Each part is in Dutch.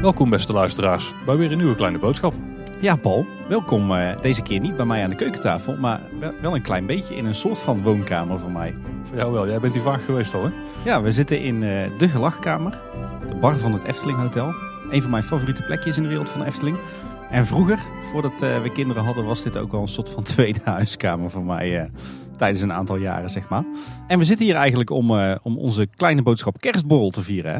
Welkom beste luisteraars bij weer een nieuwe kleine boodschap. Ja, Paul, welkom eh, deze keer niet bij mij aan de keukentafel, maar wel- wel een klein beetje in een soort van woonkamer van mij. Voor jou wel, jij bent hier vaak geweest al hè? Ja, we zitten in eh, de gelachkamer, de bar van het Efteling Hotel. Een van mijn favoriete plekjes in de wereld van de Efteling. En vroeger, voordat eh, we kinderen hadden, was dit ook wel een soort van tweede huiskamer voor mij eh, tijdens een aantal jaren, zeg maar. En we zitten hier eigenlijk om, eh, om onze kleine boodschap kerstborrel te vieren, hè?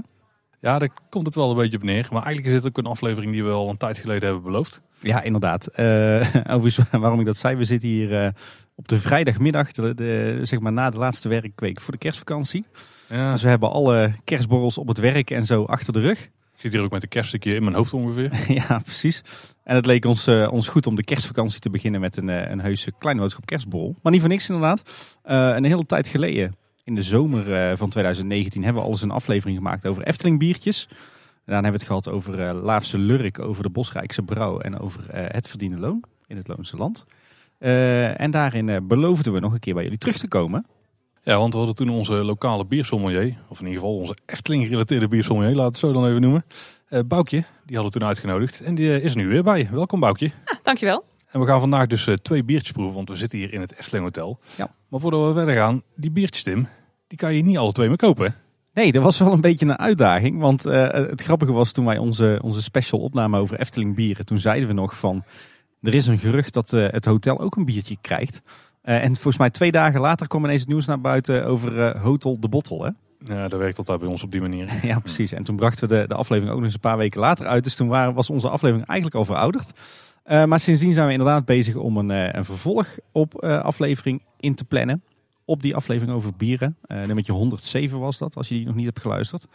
Ja, daar komt het wel een beetje op neer. Maar eigenlijk is dit ook een aflevering die we al een tijd geleden hebben beloofd. Ja, inderdaad. Eh overigens, waarom ik dat zei, we zitten hier eh, op de vrijdagmiddag, de, de- zeg maar na de laatste werkweek voor de kerstvakantie. Ja, Dus we hebben alle kerstborrels op het werk en zo achter de rug. ik zit hier ook met een kerststukje in mijn hoofd ongeveer. ja, precies. En het leek ons, eh, ons goed om de kerstvakantie te beginnen met een, eh, een heuse kleine boodschap kerstborrel. Maar niet voor niks inderdaad. Eh, een hele tijd geleden, in de zomer eh, van 2019, hebben we al eens een aflevering gemaakt over Efteling biertjes. Daarna hebben we het gehad over eh, Laafse Lurk, over de Bosrijkse Brouw en over eh, het verdiende loon in het Loonse Land. Eh, en daarin eh, beloofden we nog een keer bij jullie terug te komen. Ja, want we hadden toen onze lokale biersommelier, of in ieder geval onze Efteling-gerelateerde biersommelier, laten we het zo dan even noemen. Eh Boukje, die hadden we toen uitgenodigd en die eh, is er nu weer bij. Welkom Boukje. Dankjewel. En we gaan vandaag dus eh, twee biertjes proeven, want we zitten hier in het Efteling Hotel. Ja. Maar voordat we verder gaan, die biertjes Tim, die kan je niet alle twee meer kopen. hè? Nee, dat was wel een beetje een uitdaging. Want eh, het grappige was toen wij onze, onze special opname over Efteling bieren. Toen zeiden we nog van, er is een gerucht dat eh, het hotel ook een biertje krijgt. Eh, en volgens mij twee dagen later kwam ineens het nieuws naar buiten over eh, Hotel de Bottle. Hè? Ja, dat werkt altijd bij ons op die manier. Ja, precies. En toen brachten we de, de aflevering ook nog eens een paar weken later uit. Dus toen waren, was onze aflevering eigenlijk al verouderd. Eh, maar sindsdien zijn we inderdaad bezig om een, eh, een vervolg op eh, aflevering in te plannen. Op die aflevering over bieren. Eh nummertje 107 was dat, als je die nog niet hebt geluisterd.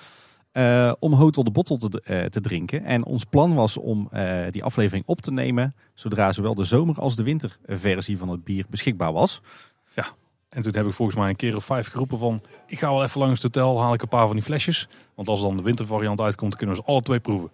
Eh, om Hotel de Bottle te, eh, te drinken. En ons plan was om eh, die aflevering op te nemen. zodra zowel de zomer- als de winterversie van het bier beschikbaar was. En toen heb ik volgens mij een keer of vijf geroepen van... ik ga wel even langs het hotel, haal ik een paar van die flesjes. Want als dan de wintervariant uitkomt, kunnen we ze alle twee proeven.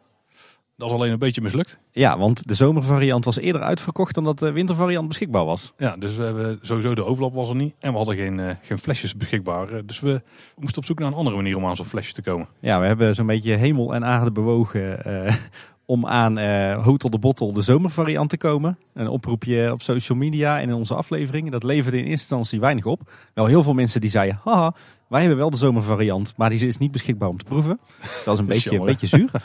Dat is alleen een beetje mislukt. Ja, want de zomervariant was eerder uitverkocht dan dat de wintervariant beschikbaar was. Ja, dus we hebben sowieso de overlap was er niet. En we hadden geen, eh, geen flesjes beschikbaar. Eh, Dus we moesten op zoek naar een andere manier om aan zo'n flesje te komen. Ja, we hebben zo'n beetje hemel en aarde bewogen eh, om aan eh, Hotel de Bottle de zomervariant te komen. Een oproepje op social media en in onze aflevering. Dat leverde in eerste instantie weinig op. Wel heel veel mensen die zeiden, haha, wij hebben wel de zomervariant, maar die is niet beschikbaar om te proeven. Dus dat is een, Dat is beetje, een jammer. beetje zuur.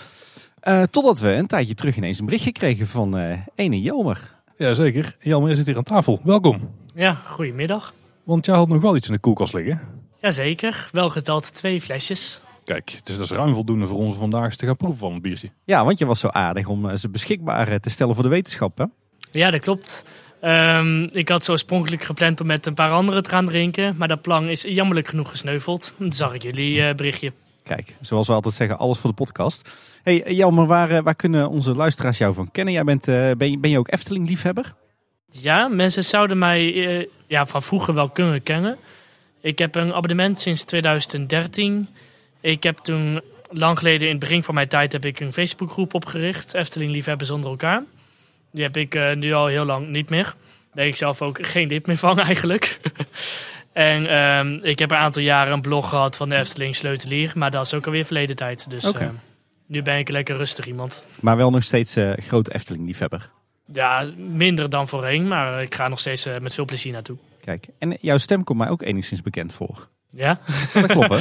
Eh, totdat we een tijdje terug ineens een berichtje kregen van eh ene Jelmer. Jazeker. Jelmer, je zit hier aan tafel. Welkom. Ja, goedemiddag. Want jij had nog wel iets in de koelkast liggen. Jazeker, wel geteld twee flesjes. Kijk, dus dat is ruim voldoende voor ons om vandaag eens te gaan proeven van een biertje. Ja, want je was zo aardig om eh, ze beschikbaar eh, te stellen voor de wetenschappen. Ja, dat klopt. Ehm, ik had zo oorspronkelijk gepland om met een paar anderen te gaan drinken, maar dat plan is jammerlijk genoeg gesneuveld. Toen zag ik jullie eh, berichtje. Kijk, zoals we altijd zeggen, alles voor de podcast. Hey eh, Jelmer, waar, eh, waar kunnen onze luisteraars jou van kennen? Jij bent, eh, ben, je- ben je ook Efteling-liefhebber? Ja, mensen zouden mij eh, ja, van vroeger wel kunnen kennen. Ik heb een abonnement sinds 2013. Ik heb toen, lang geleden in het begin van mijn tijd, heb ik een Facebookgroep opgericht. Efteling Liefhebbers onder elkaar. Die heb ik eh, nu al heel lang niet meer. Daar Ben ik zelf ook geen lid meer van eigenlijk. en ehm, ik heb een aantal jaren een blog gehad van de Efteling Sleutelier. Maar dat is ook alweer verleden tijd. Dus Oké. eh, nu ben ik lekker rustig iemand. Maar wel nog steeds eh groot Efteling-liefhebber. Ja, minder dan voorheen. Maar eh, ik ga nog steeds eh, met veel plezier naartoe. Kijk, en jouw stem komt mij ook enigszins bekend voor. Ja? Dat klopt, hè?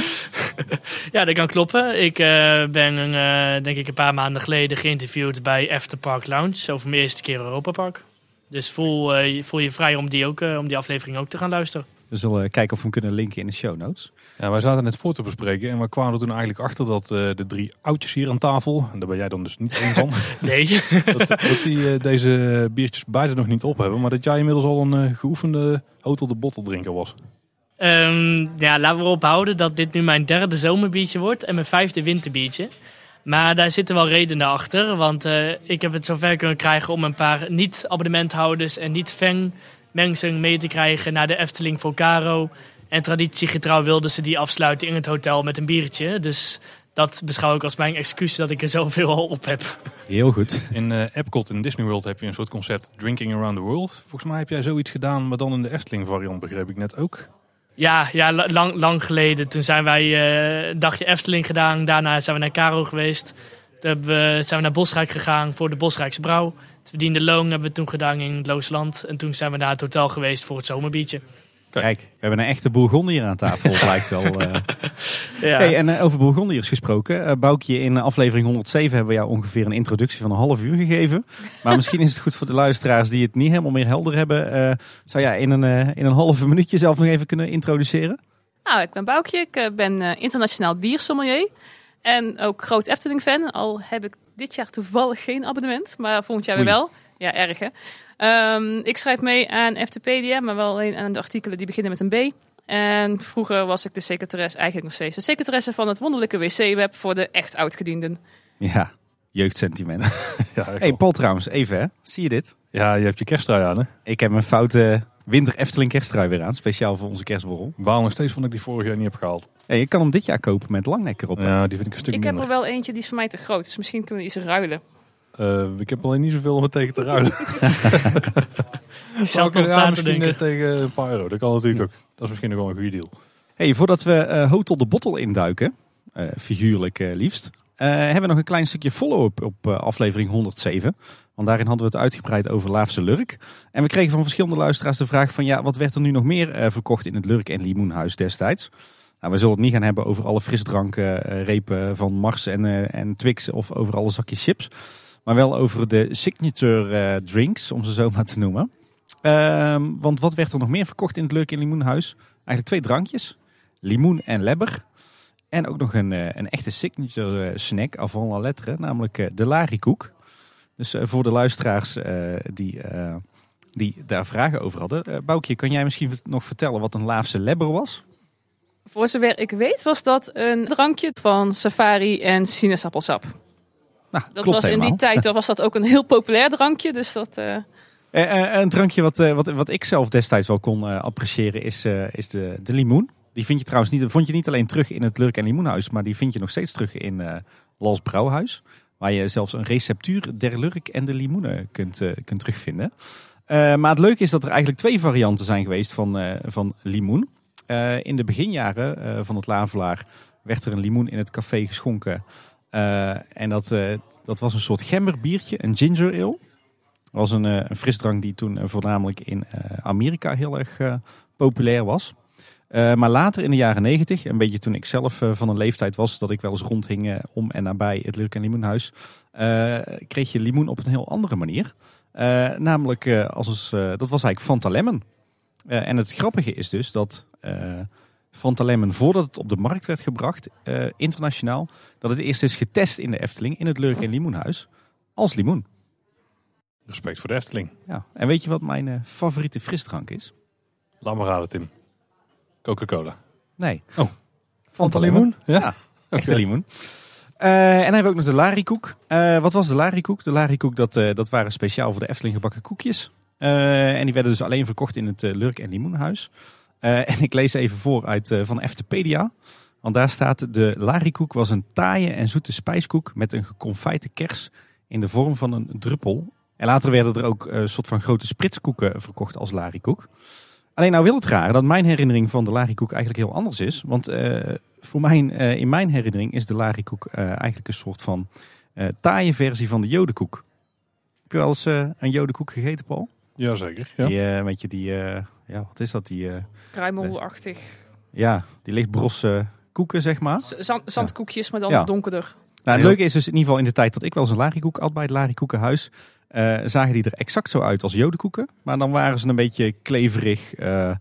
ja, dat kan kloppen. Ik eh, ben eh, denk ik een paar maanden geleden geïnterviewd bij After Park Lounge over mijn eerste keer Europa Park. Dus voel, eh, je- voel je vrij om die, ook, eh, om die aflevering ook te gaan luisteren. We zullen eh, kijken of we hem kunnen linken in de show notes. Ja, wij zaten net voor te bespreken en we kwamen er toen eigenlijk achter dat eh, de drie oudjes hier aan tafel, en daar ben jij dan dus niet één van, Nee, dat, dat die eh, deze biertjes beide nog niet op hebben, maar dat jij inmiddels al een eh, geoefende hotel de bottle drinker was. Ehm, ja, laten we erop houden dat dit nu mijn derde zomerbiertje wordt en mijn vijfde winterbiertje. Maar daar zitten wel redenen achter, want eh, ik heb het zover kunnen krijgen om een paar niet-abonnementhouders en niet-fang-mensen mee te krijgen naar de Efteling Volcaro. En traditiegetrouw wilden ze die afsluiten in het hotel met een biertje. Dus dat beschouw ik als mijn excuus dat ik er zoveel al op heb. Heel goed. In eh Epcot in Disney World heb je een soort concept Drinking Around the World. Volgens mij heb jij zoiets gedaan, maar dan in de Efteling variant begreep ik net ook. Ja, ja la- lang, lang geleden. Toen zijn wij eh, een dagje Efteling gedaan. Daarna zijn we naar Karo geweest. Toen hebben we, zijn we naar Bosrijk gegaan voor de Bosrijkse brouw. Het verdiende loon hebben we toen gedaan in het Loosland. En toen zijn we naar het hotel geweest voor het zomerbiertje. Kijk, we hebben een echte Bourgondier aan tafel, blijkt wel. eh. Ja. Hey, en eh, over Bourgondiërs gesproken. eh Boukje, in aflevering 107 hebben we jou ongeveer een introductie van een half uur gegeven. Maar misschien is het goed voor de luisteraars die het niet helemaal meer helder hebben. eh, zou jij in een, eh, in een half minuut jezelf nog even kunnen introduceren? Nou, ik ben Boukje. Ik eh, ben eh, internationaal biersommelier. En ook groot Efteling-fan. Al heb ik dit jaar toevallig geen abonnement. Maar volgend jaar weer Oei. wel. Ja, erg hè. Ehm, ik schrijf mee aan Eftepedia. Maar wel alleen aan de artikelen die beginnen met een B. En vroeger was ik de secretaresse, eigenlijk nog steeds de secretaresse van het wonderlijke wc-web voor de echt oudgedienden. Ja, jeugdsentiment. Ja, echt Hey wel. Paul trouwens, even hè. Zie je dit? ja, je hebt je kersttrui aan, hè? Ik heb mijn foute winter Efteling kersttrui weer aan. Speciaal voor onze kerstborrel. Ik baal nog steeds van dat ik die vorig jaar niet heb gehaald. Hey, je kan hem dit jaar kopen met langnek erop. Ja, die vind ik een stuk Ik heb minder. er wel eentje, die is voor mij te groot. Dus misschien kunnen we iets ruilen. Eh, ik heb alleen niet zoveel om het tegen te ruilen. ik Zou zal het nog kunnen- ja, later misschien denken. eh, tegen een paar euro. Dat kan natuurlijk ook. Dat is misschien nog wel een goede deal. Hey, voordat we eh, Hotel de Bottel induiken, eh, figuurlijk eh, liefst, eh, hebben we nog een klein stukje follow-up op eh, aflevering 107. Want daarin hadden we het uitgebreid over Laafse Lurk. En we kregen van verschillende luisteraars de vraag van, ja, wat werd er nu nog meer eh, verkocht in het Lurk en Limoenhuis destijds? Nou, we zullen het niet gaan hebben over alle frisdrankrepen van Mars en, eh, en Twix of over alle zakjes chips. Maar wel over de signature eh, drinks, om ze zo maar te noemen. Ehm, want wat werd er nog meer verkocht in het Lurk en Limoenhuis? Eigenlijk twee drankjes limoen en lebber. En ook nog een, eh, een echte signature eh, snack avant la lettre, namelijk eh, de larikoek. Dus eh, voor de luisteraars eh, die, eh, die daar vragen over hadden. eh Boukje, kan jij misschien v- nog vertellen wat een Laafse lebber was? Voor zover ik weet was dat een drankje van safari en sinaasappelsap. Nou, Dat klopt was in die helemaal. tijd dan was dat ook een heel populair drankje. Dus dat, eh, Eh, eh, een drankje wat, eh, wat, wat ik zelf destijds wel kon eh, appreciëren is, eh, is de, de limoen. Die vind je trouwens niet, vond je niet alleen terug in het Lurk en Limoenhuis, maar die vind je nog steeds terug in eh Lals Brouwhuis. Waar je zelfs een receptuur der Lurk en de limoenen kunt, eh, kunt terugvinden. Eh, maar het leuke is dat er eigenlijk twee varianten zijn geweest van, eh, van limoen. Eh, in de beginjaren eh, van het Lavelaar werd er een limoen in het café geschonken. Eh, en dat, eh, dat was een soort gemberbiertje, een ginger ale was een, eh, een frisdrank die toen eh, voornamelijk in eh, Amerika heel erg eh, populair was. Eh, maar later in de jaren negentig, een beetje toen ik zelf eh, van een leeftijd was, dat ik wel eens rondhing eh, om en nabij het Lurk en Limoenhuis, eh, kreeg je limoen op een heel andere manier. Eh, namelijk, eh, als, eens, eh, dat was eigenlijk Fanta Lemon. Eh, en het grappige is dus dat eh Fanta Lemon, voordat het op de markt werd gebracht, eh, internationaal, dat het eerst is getest in de Efteling, in het Lurk en Limoenhuis, als limoen. Respect voor de Efteling. Ja, en weet je wat mijn eh, favoriete frisdrank is? Laat me raden, Tim. Coca-Cola. Nee. Oh. Fanta Ja. Ja. Echte limoen. Eh, en dan hebben we ook nog de larikoek. Eh, wat was de larikoek? De larikoek, dat, eh, dat waren speciaal voor de Efteling gebakken koekjes. Eh, en die werden dus alleen verkocht in het eh, Lurk en Limoenhuis. Eh, en ik lees even voor uit eh, van Eftepedia. Want daar staat, de larikoek was een taaie en zoete spijskoek met een geconfijte kers in de vorm van een druppel. En later werden er ook een soort van grote spritskoeken verkocht als larikoek. Alleen nou wil het raar dat mijn herinnering van de larikoek eigenlijk heel anders is. Want eh, voor mijn, eh, in mijn herinnering is de larikoek eh, eigenlijk een soort van eh taaie versie van de jodenkoek. Heb je wel eens eh, een jodenkoek gegeten, Paul? Jazeker. Ja. Die, eh, weet je, die, eh, ja, wat is dat? Die, eh, kruimelachtig. ja, die lichtbrosse koeken, zeg maar. Z- zand- zandkoekjes, maar dan Ja. donkerder. Nou, het Heel- leuke is dus in ieder geval in de tijd dat ik wel eens een larikoek at bij het larikoekenhuis, eh, zagen die er exact zo uit als jodenkoeken. Maar dan waren ze een beetje kleverig, eh, eh,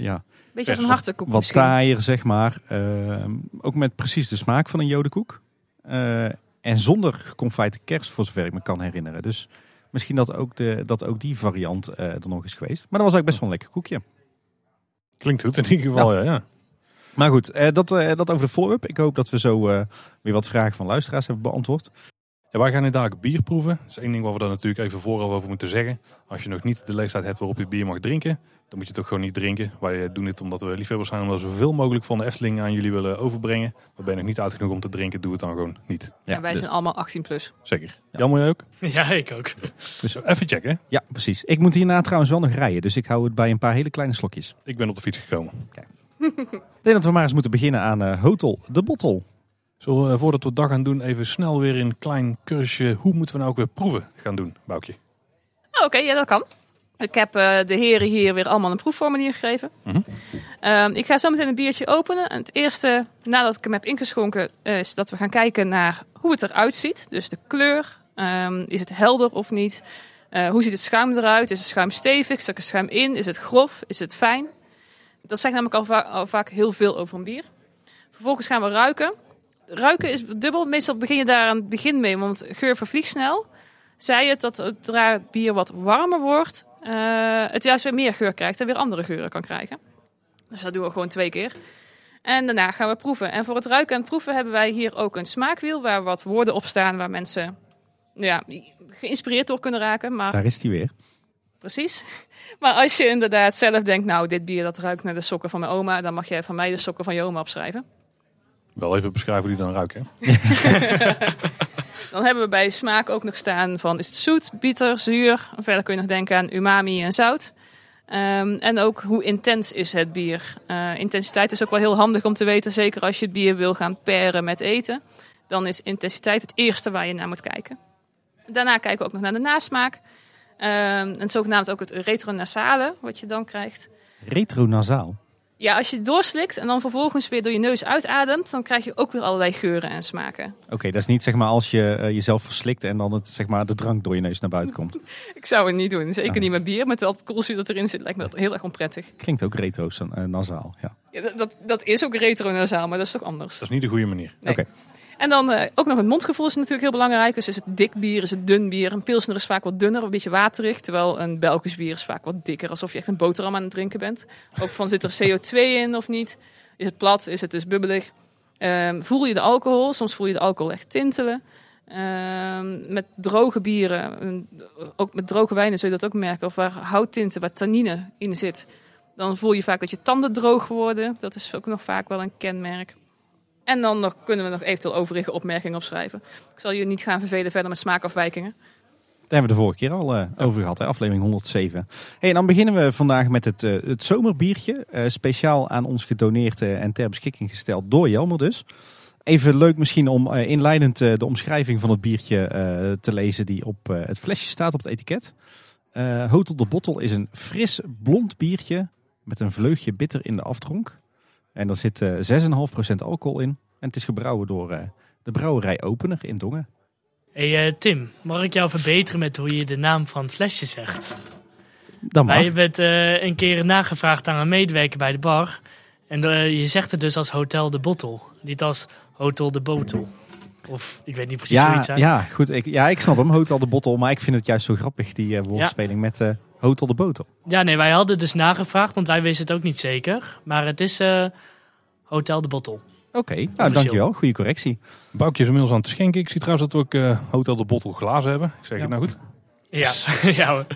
ja, Beetje als Vers. een harde koek wat misschien. taaier, zeg maar. Eh, ook met precies de smaak van een jodenkoek. Eh, en zonder geconfijte kers, voor zover ik me kan herinneren. Dus misschien dat ook, de, dat ook die variant eh, er nog is geweest. Maar dat was eigenlijk best wel een lekker koekje. Klinkt goed in ieder geval, ja. ja. Maar goed, eh, dat, eh, dat over de follow-up. Ik hoop dat we zo eh, weer wat vragen van luisteraars hebben beantwoord. Ja, wij gaan inderdaad bier proeven. Dat is één ding waar we daar natuurlijk even vooraf over moeten zeggen. Als je nog niet de leeftijd hebt waarop je bier mag drinken, dan moet je het ook gewoon niet drinken. Wij eh, doen dit omdat we liefhebbers zijn, omdat we zoveel mogelijk van de Efteling aan jullie willen overbrengen. Maar ben je nog niet oud genoeg om te drinken, doe het dan gewoon niet. Ja, en wij dus- zijn allemaal 18 plus. Zeker. Jammer jij ook? Ja, ik ook. Dus even checken. ja, precies. Ik moet hierna trouwens wel nog rijden, dus ik hou het bij een paar hele kleine slokjes. Ik ben op de fiets gekomen. Ik denk dat we maar eens moeten beginnen aan eh, Hotel de Bottel. Zullen we, eh, voordat we het dag gaan doen, even snel weer een klein cursusje hoe moeten we nou ook weer proeven gaan doen, Boukje? Oh, Oké, ja, dat kan. Ik heb eh, de heren hier weer allemaal een proefformulier gegeven. Mhm. Ehm, ik ga zo meteen een biertje openen. En het eerste, nadat ik hem heb ingeschonken, is dat we gaan kijken naar hoe het eruit ziet. Dus de kleur, ehm, is het helder of niet? Eh, hoe ziet het schuim eruit? Is het schuim stevig? Zak het schuim in? Is het grof? Is het fijn? Dat zegt namelijk al, va- al vaak heel veel over een bier. Vervolgens gaan we ruiken. Ruiken is dubbel. Meestal begin je daar aan het begin mee, want geur vervliegt snel zei het dat het zodra het bier wat warmer wordt, eh, het juist weer meer geur krijgt en weer andere geuren kan krijgen. Dus dat doen we gewoon twee keer. En daarna gaan we proeven. En voor het ruiken en het proeven hebben wij hier ook een smaakwiel waar wat woorden op staan waar mensen nou ja, geïnspireerd door kunnen raken. Maar Daar is die weer. Precies. Maar als je inderdaad zelf denkt, nou, dit bier dat ruikt naar de sokken van mijn oma, dan mag jij van mij de sokken van je oma opschrijven. Wel even beschrijven hoe die dan ruiken. hè? Dan hebben we bij smaak ook nog staan van is het zoet, bitter, zuur. Verder kun je nog denken aan umami en zout. Ehm, en ook hoe intens is het bier. Eh, intensiteit is ook wel heel handig om te weten, zeker als je het bier wil gaan peren met eten. Dan is intensiteit het eerste waar je naar moet kijken. Daarna kijken we ook nog naar de nasmaak. Ehm en zogenaamd ook het retronasale, wat je dan krijgt. Retronasaal. Ja, als je het doorslikt en dan vervolgens weer door je neus uitademt, dan krijg je ook weer allerlei geuren en smaken. Oké, dat is niet zeg maar als je eh, jezelf verslikt en dan het, zeg maar, de drank door je neus naar buiten komt. Ik zou het niet doen. Zeker Ja. niet met bier. Met al het koolzuur dat erin zit, lijkt me dat heel erg onprettig. Klinkt ook retro-nasaal. Ja. Ja, dat- dat, dat is ook retronasaal, maar dat is toch anders. Dat is niet de goede manier. Nee. Oké. En dan eh, ook nog het mondgevoel is natuurlijk heel belangrijk. Dus is het dik bier, is het dun bier? Een pilsner is vaak wat dunner, een beetje waterig. Terwijl een Belgisch bier is vaak wat dikker. Alsof je echt een boterham aan het drinken bent. Ook van zit er CO2 in of niet? Is het plat? Is het dus bubbelig? Ehm, voel je de alcohol? Soms voel je de alcohol echt tintelen. Ehm, met droge bieren, eh, ook met droge wijnen zul je dat ook merken. Of waar houttinten, waar tannine in zit. Dan voel je vaak dat je tanden droog worden. Dat is ook nog vaak wel een kenmerk. En dan nog, kunnen we nog eventueel overige opmerkingen opschrijven. Ik zal je niet gaan vervelen verder met smaakafwijkingen. Daar hebben we de vorige keer al eh, over gehad, hè? aflevering 107. Hey, en dan beginnen we vandaag met het, eh, het zomerbiertje. eh, speciaal aan ons gedoneerd eh, en ter beschikking gesteld door Jelmer dus. Even leuk misschien om eh, inleidend eh, de omschrijving van het biertje eh, te lezen die op eh, het flesje staat op het etiket. Eh, Hotel de Bottel is een fris blond biertje met een vleugje bitter in de aftronk. En daar zit eh, 6,5% alcohol in. En het is gebrouwen door eh, de brouwerij Opener in Dongen. Hey, eh, Tim, mag ik jou verbeteren met hoe je de naam van het flesje zegt? Dan Wij maar. hebben het eh, een keer nagevraagd aan een medewerker bij de bar. En eh, je zegt het dus als Hotel de Bottel. Niet als Hotel de Botel. Of ik weet niet precies hoe je Ja, het zei. ja, goed. Ik, ja, ik snap hem. Hotel de Bottel. Maar ik vind het juist zo grappig, die eh, woordspeling met eh, Hotel de Botel. Ja, nee, wij hadden dus nagevraagd, want wij wisten het ook niet zeker. Maar het is eh, Hotel de Bottel. Oké, nou dankjewel. Goede correctie. Boukje is inmiddels aan het schenken. Ik zie trouwens dat we ook eh, Hotel de Bottle glazen hebben. Ik zeg Ja. het nou goed. Ja, ja hoor.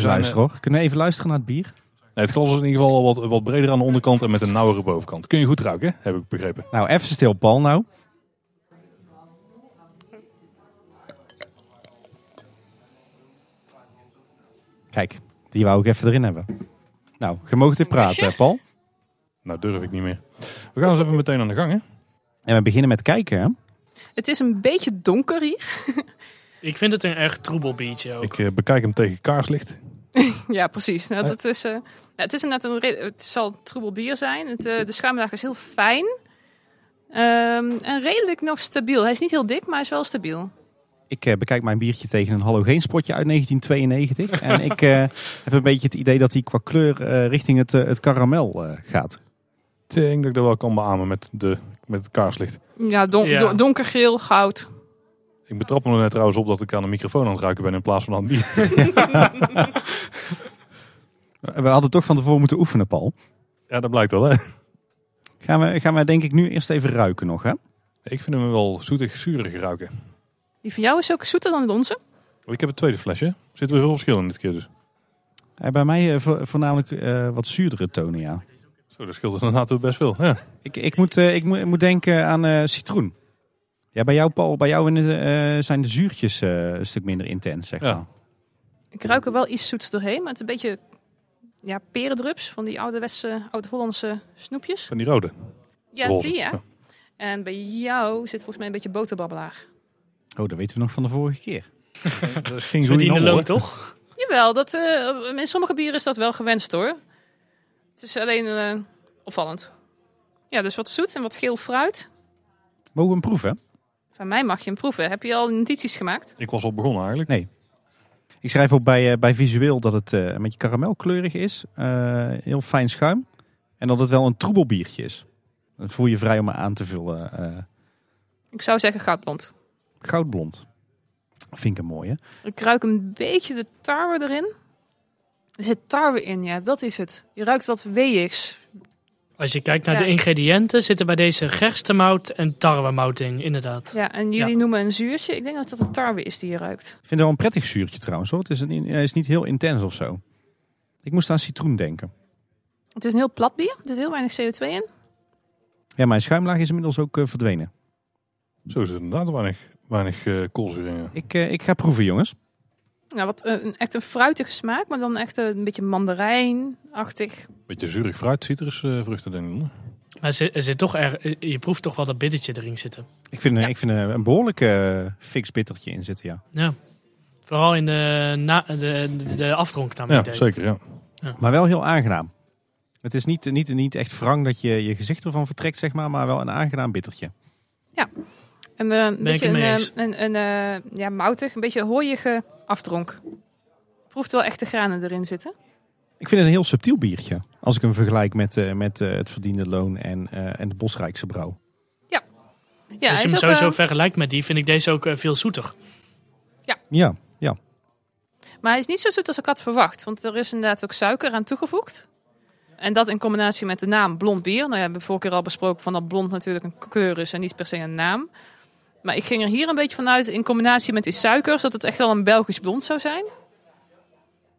zijn, luisteren hoor. Kunnen we even luisteren naar het bier? Nee, het glas is in ieder geval al wat, wat breder aan de onderkant en met een nauwere bovenkant. Kun je goed ruiken, hè? heb ik begrepen. Nou, even stil, Paul nou. Kijk, die wou ik even erin hebben. Nou, je mag weer praten, hè, Paul. Nou durf ik niet meer. We gaan eens even meteen aan de gang, hè? En we beginnen met kijken, hè? Het is een beetje donker hier. Ik vind het een erg troebel biertje ook. Ik eh, bekijk hem tegen kaarslicht. Ja, precies. Nou, dat is, eh, nou, het is inderdaad een re- het zal een troebel bier zijn. Het, eh, de schuimlaag is heel fijn. Ehm, en redelijk nog stabiel. Hij is niet heel dik, maar hij is wel stabiel. Ik eh, bekijk mijn biertje tegen een halogeenspotje uit 1992. en ik eh, heb een beetje het idee dat hij qua kleur eh, richting het, eh, het karamel eh, gaat. Ik denk dat ik dat wel kan beamen met, de, met het kaarslicht. Ja, don- Ja. don- donkergeel, goud. Ik betrap me er net trouwens op dat ik aan de microfoon aan het ruiken ben in plaats van aan het bier. Eh, We hadden toch van tevoren moeten oefenen, Paul. Ja, dat blijkt wel, hè? Gaan we, gaan we denk ik nu eerst even ruiken nog, hè? Ik vind hem wel zoetig, zuurig ruiken. Die van jou is ook zoeter dan de onze. Ik heb het tweede flesje. Zitten we veel verschil in dit keer dus. Eh, bij mij eh, vo- voornamelijk eh, wat zuurdere tonen, ja. Zo, dat scheelt inderdaad ook best veel. Ja. Ik, ik, moet, eh, ik, moet, ik moet denken aan eh, citroen. Ja, bij jou, Paul, bij jou in de, eh, zijn de zuurtjes eh, een stuk minder intens, zeg Ja. maar. Ik ruik er wel iets zoets doorheen, maar het is een beetje ja, perendrups van die ouderwetse, oud-Hollandse snoepjes. Van die rode. Ja, Roze. die ja. En bij jou zit volgens mij een beetje boterbabbelaar. Oh, dat weten we nog van de vorige keer. Dat ging Het zo in verdiende de loon, toch? Jawel, dat, eh, in sommige bieren is dat wel gewenst hoor. Het is alleen eh, opvallend. Ja, dus wat zoet en wat geel fruit. Mogen we hem proeven? Van mij mag je hem proeven. Heb je al notities gemaakt? Ik was al begonnen eigenlijk. Ik schrijf op bij, eh, bij visueel dat het eh, een beetje karamelkleurig is. eh, heel fijn schuim. En dat het wel een troebel biertje is. Dat voel je vrij om aan te vullen. eh, Ik zou zeggen goudblond. goudblond. Vind ik een mooie. Ik ruik een beetje de tarwe erin. Er zit tarwe in, ja, dat is het. Je ruikt wat weeëgs. Als je kijkt naar Ja. de ingrediënten, zitten bij deze gerstemout en tarwemout in, inderdaad. Ja, en jullie Ja. noemen een zuurtje. Ik denk dat dat de tarwe is die je ruikt. Ik vind het wel een prettig zuurtje trouwens. Hoor. Het is, een, eh, is niet heel intens of zo. Ik moest aan citroen denken. Het is een heel plat bier. Er zit heel weinig CO2 in. Ja, mijn schuimlaag is inmiddels ook eh, verdwenen. Zo is het inderdaad weinig, weinig eh, koolzuur in. ja. Ik, eh, ik ga proeven, jongens. Nou, wat, eh, een, echt een fruitige smaak, maar dan echt eh, een beetje mandarijnachtig. Beetje zuurig fruit, citrusvruchten denk ik. hoor. Maar ze- er zit toch er, eh, je proeft toch wel dat biddetje erin zitten. Ik vind, eh, ik vind een, behoorlijke eh, fix bittertje in zitten, ja. Ja. Vooral in de, na, de, de, de afdronk naar mijn Ja, idee. zeker ja. Maar wel heel aangenaam. Het is niet, niet, niet echt wrang dat je je gezicht ervan vertrekt, zeg maar, maar wel een aangenaam bittertje. En eh, een beetje het een, mee eh, eens. een, een eh, ja, moutig, een beetje hooiige afdronk. Proeft wel echt de granen erin zitten. Ik vind het een heel subtiel biertje. Als ik hem vergelijk met, eh, met eh, het verdiende loon en, eh, en de Bosrijkse brouw. Ja, hij Als je is Dus hem ook, sowieso eh, vergelijkt met die, vind ik deze ook eh, veel zoeter. Ja, ja. maar hij is niet zo zoet als ik had verwacht. Want er is inderdaad ook suiker aan toegevoegd. En dat in combinatie met de naam blond bier. Nou ja, we hebben vorige keer al besproken van dat blond natuurlijk een kleur is en niet per se een naam. Maar ik ging er hier een beetje vanuit in combinatie met die suikers dat het echt wel een Belgisch blond zou zijn.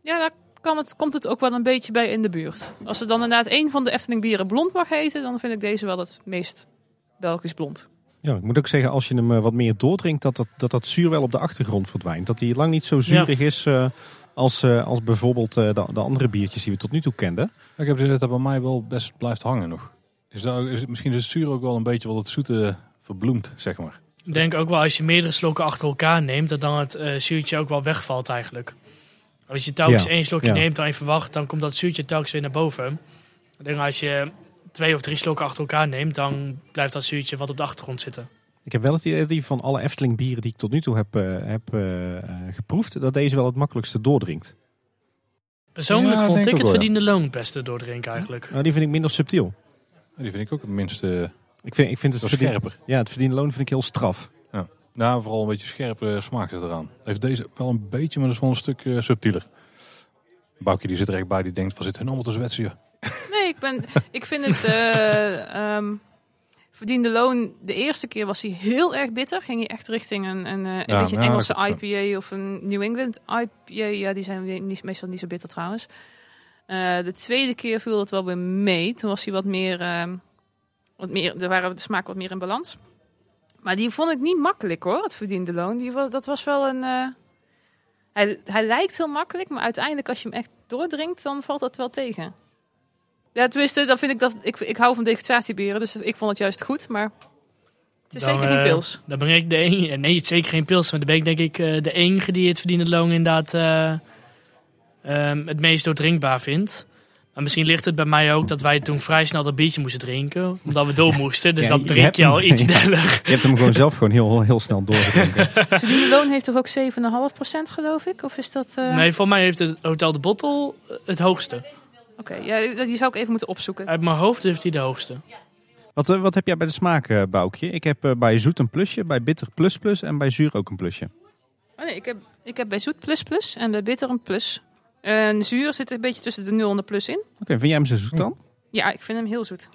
Ja, daar kan het, komt het ook wel een beetje bij in de buurt. Als er dan inderdaad één van de Efteling bieren blond mag heten, dan vind ik deze wel het meest Belgisch blond. Ja, ik moet ook zeggen, als je hem eh, wat meer doordrinkt, dat dat, dat dat zuur wel op de achtergrond verdwijnt. Dat hij lang niet zo zuurig is eh, als, eh, als bijvoorbeeld eh, de, de andere biertjes die we tot nu toe kenden. Ik heb het idee dat dat bij mij wel best blijft hangen nog. Is dat, ook- is, het- misschien is het zuur ook wel een beetje wat het zoete verbloemt, zeg maar. Ik denk ook wel als je meerdere slokken achter elkaar neemt, dat dan het eh, zuurtje ook wel wegvalt eigenlijk. Als je telkens Ja, één slokje ja. neemt, dan even wacht, dan komt dat zuurtje telkens weer naar boven. Ik denk als je twee of drie slokken achter elkaar neemt, dan blijft dat zuurtje wat op de achtergrond zitten. Ik heb wel het idee dat die van alle Efteling bieren die ik tot nu toe heb, eh, heb eh, eh, geproefd, dat deze wel het makkelijkste doordrinkt. Persoonlijk Ja, denk vond ik ook het wel, ja. verdiende loon het beste doordrinken eigenlijk. Nou, die vind ik minder subtiel. En die vind ik ook het minste Ik vind, ik vind het, wel verdien- scherper. ja, het verdiende loon vind ik heel straf. Nou, vooral een beetje scherpe smaak zit eraan. Heeft deze wel een beetje, maar dat is wel een stuk eh, subtieler. Boukje die zit er echt bij, die denkt van zit hun allemaal te zwetsen hier. Nee, ik, ben, ik vind het. eh, ehm, verdiende loon. De eerste keer was hij heel erg bitter. Ging hij echt richting een, een, eh, een Ja, beetje ja, Engelse dat klopt, IPA of een New England IPA. Ja, die zijn weer niet, meestal niet zo bitter trouwens. Eh, de tweede keer viel het wel weer mee. Toen was hij wat meer. ehm, wat meer er waren de smaak wat meer in balans. Maar die vond ik niet makkelijk hoor, het verdiende loon. Die, wa- dat was wel een. eh, hij, hij lijkt heel makkelijk, maar uiteindelijk als je hem echt doordringt, dan valt dat wel tegen. Ja, tenminste, dan vind ik dat. Ik, ik hou van degustatieberen, dus ik vond het juist goed, maar het is Dan, zeker geen eh, pils. Dan ben ik de enige, nee, het is zeker geen pils, maar dan ben ik denk ik eh, de enige die het verdiende loon inderdaad eh, ehm, het meest doordrinkbaar vindt. Maar misschien ligt het bij mij ook dat wij toen vrij snel dat biertje moesten drinken, omdat we door moesten. Dus Ja, dan je drink hebt je al hem. iets Ja. sneller. Je hebt hem gewoon zelf gewoon heel, heel snel doorgedronken. Het verdiende loon heeft toch ook 7,5% geloof ik? Of is dat. eh, Nee, voor mij heeft het Hotel de Bottel het hoogste. Oké, ja, die- die zou ik even moeten opzoeken. Uit mijn hoofd heeft hij de hoogste. Wat, eh, wat heb jij bij de smaak, eh, Boukje? Ik heb eh, bij zoet een plusje, bij bitter plus plus en bij zuur ook een plusje. Oh nee, ik heb, ik heb bij zoet plus plus en bij bitter een plus. En zuur zit een beetje tussen de 0 en de plus in. Oké, vind jij hem zo zoet dan? Ja, ik vind hem heel zoet.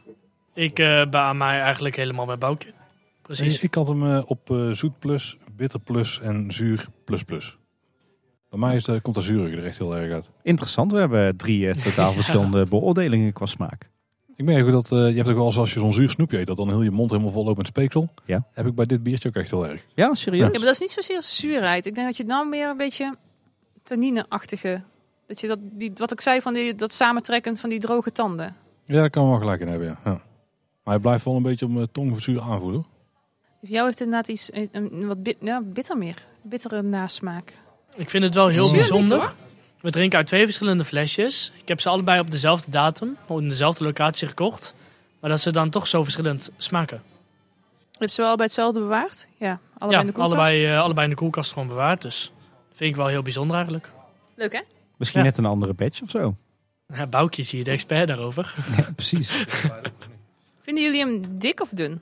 Ik eh bij mij eigenlijk helemaal bij Boukje. precies. Ik had hem eh, op eh, zoet plus, bitter plus en zuur plus plus. Bij mij is, de komt de zuurige er echt heel erg uit. Interessant, we hebben drie eh, totaal Ja. verschillende beoordelingen qua smaak. Ik merk ook dat eh, je hebt ook wel eens als je zo'n zuur snoepje eet, dat dan heel je mond helemaal vol loopt met speeksel. Ja. Heb ik bij dit biertje ook echt heel erg. Ja, serieus? Ja, maar dat is niet zozeer zuurheid. Ik denk dat je nou meer een beetje tannine-achtige... Dat je dat, die, wat ik zei van die, dat samentrekkend van die droge tanden. Ja, daar kan we wel gelijk in hebben, ja. Ja. Maar hij blijft wel een beetje op mijn tong zuur aanvoelen. Voor jou heeft het inderdaad iets een, een wat bit, ja, bitter meer. Bittere nasmaak. Ik vind het wel heel Zuur niet, bijzonder. hoor. We drinken uit twee verschillende flesjes. Ik heb ze allebei op dezelfde datum, op dezelfde locatie gekocht. Maar dat ze dan toch zo verschillend smaken. Heb je ze wel bij hetzelfde bewaard? Ja, allebei in de ja, koelkast. allebei, eh, allebei in de koelkast gewoon bewaard. Dus dat vind ik wel heel bijzonder eigenlijk. Leuk hè? Misschien Ja. net een andere badge of zo. Ja, Boukje is hier de expert daarover. Ja, precies. Vinden jullie hem dik of dun?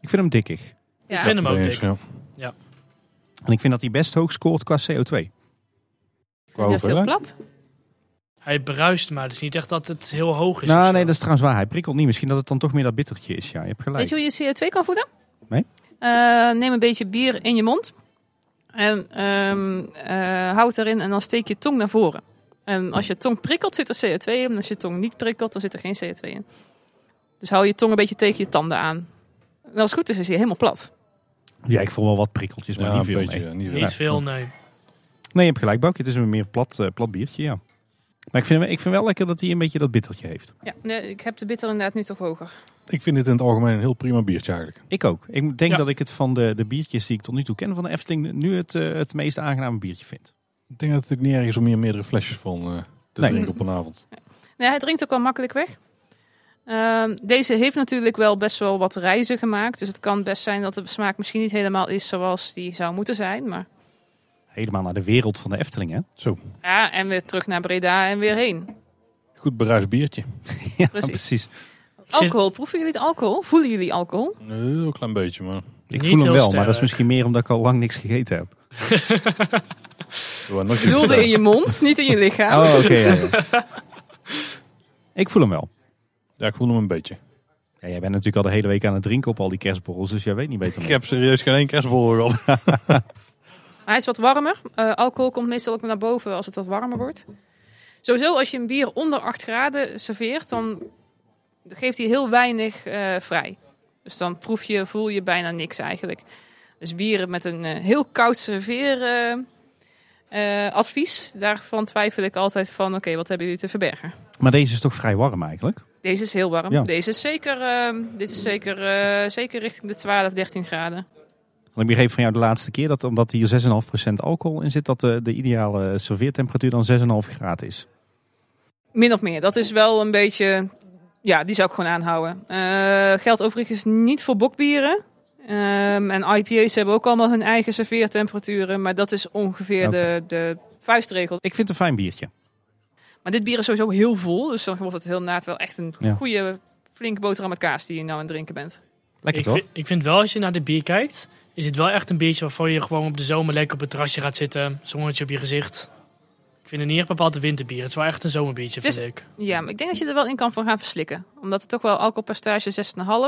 Ik vind hem dikkig. Ja. vind hem ook Denk ik, dik. ja. En ik vind dat hij best hoog scoort qua CO2. Qua Juist heel hoeveelheid. plat. Hij bruist, maar het is niet echt dat het heel hoog is. of nou, zo. nee, dat is trouwens waar. Hij prikkelt niet. Misschien dat het dan toch meer dat bittertje is. Ja, je hebt gelijk. Weet je hoe je CO2 kan voeden? Nee. Eh, neem een beetje bier in je mond. En ehm, eh, houd erin en dan steek je tong naar voren. En als je tong prikkelt, zit er CO2 in. En als je tong niet prikkelt, dan zit er geen CO2 in. Dus hou je tong een beetje tegen je tanden aan. En als het goed is, is hij helemaal plat. Ja, ik voel wel wat prikkeltjes, maar Ja, niet een veel. beetje. nee. ja, Niet veel. Niet veel, nee. Nee, je hebt gelijk, Boukje. Het is een meer plat, eh, plat biertje, ja. Maar ik vind, hem- ik vind wel lekker dat hij een beetje dat bittertje heeft. Ja, nee, ik heb de bitter inderdaad nu toch hoger. Ik vind dit in het algemeen een heel prima biertje eigenlijk. Ik ook. Ik denk Ja. dat ik het van de, de biertjes die ik tot nu toe ken van de Efteling nu het, eh, het meest aangename biertje vind. Ik denk dat het natuurlijk niet erg is om hier meerdere flesjes van eh, te Nee. drinken op een avond. Nee, hij drinkt ook wel makkelijk weg. Ehm, deze heeft natuurlijk wel best wel wat reizen gemaakt. Dus het kan best zijn dat de smaak misschien niet helemaal is zoals die zou moeten zijn. Maar Helemaal naar de wereld van de Efteling, hè? Zo, ja, en weer terug naar Breda en weer heen. goed beruisd biertje. Eh, Ja, Precies. zit- Alcohol, proeven jullie het alcohol? Voelen jullie alcohol? Een heel klein beetje, maar Ik Niet voel hem heel wel, maar dat is sterk. misschien meer omdat ik al lang niks gegeten heb. we waren nog Ik bedoelde in niet je mond, niet in je lichaam. Ah. Oh, oké. ja, ja. ik voel hem wel. Ja, ik voel hem een beetje. Ja, jij bent natuurlijk al de hele week aan het drinken op al die kerstborrels, dus jij weet niet beter. Ik meer. heb serieus geen één kerstbol gehad. Hij is wat warmer. Eh, alcohol komt meestal ook naar boven als het wat warmer wordt. Sowieso, als je een bier onder 8 graden serveert, dan geeft hij heel weinig eh, vrij. Dus dan proef je, voel je bijna niks eigenlijk. Dus bieren met een eh, heel koud serveeradvies, advies, daarvan twijfel ik altijd van, oké, wat hebben jullie te verbergen? Maar deze is toch vrij warm eigenlijk? Deze is heel warm. Ja. Deze is zeker, eh, dit is zeker, eh, zeker richting de 12, 13 graden. Want ik begreep van jou de laatste keer dat omdat hier 6,5% alcohol in zit, dat de, de ideale serveertemperatuur dan 6,5 graden is. Min of meer. Dat is wel een beetje. Ja, die zou ik gewoon aanhouden. Eh, geldt overigens niet voor bokbieren. Ehm, en IPA's hebben ook allemaal hun eigen serveertemperaturen. Maar dat is ongeveer de, de vuistregel. Ik vind het een fijn biertje. Maar dit bier is sowieso heel vol. Dus dan wordt het heel naad wel echt een Ja. goede, flinke boterham met kaas die je nou aan het drinken bent. Lekker Ik toch? vind, ik vind wel, als je naar de bier kijkt, is het wel echt een biertje waarvoor je gewoon op de zomer lekker op het terrasje gaat zitten. Zonnetje op je gezicht. Ik vind het niet echt bepaald een winterbier. Het is wel echt een zomerbiertje, Het is- vind ik. Ja, maar ik denk dat je er wel in kan van gaan verslikken. Omdat het toch wel alcoholpercentage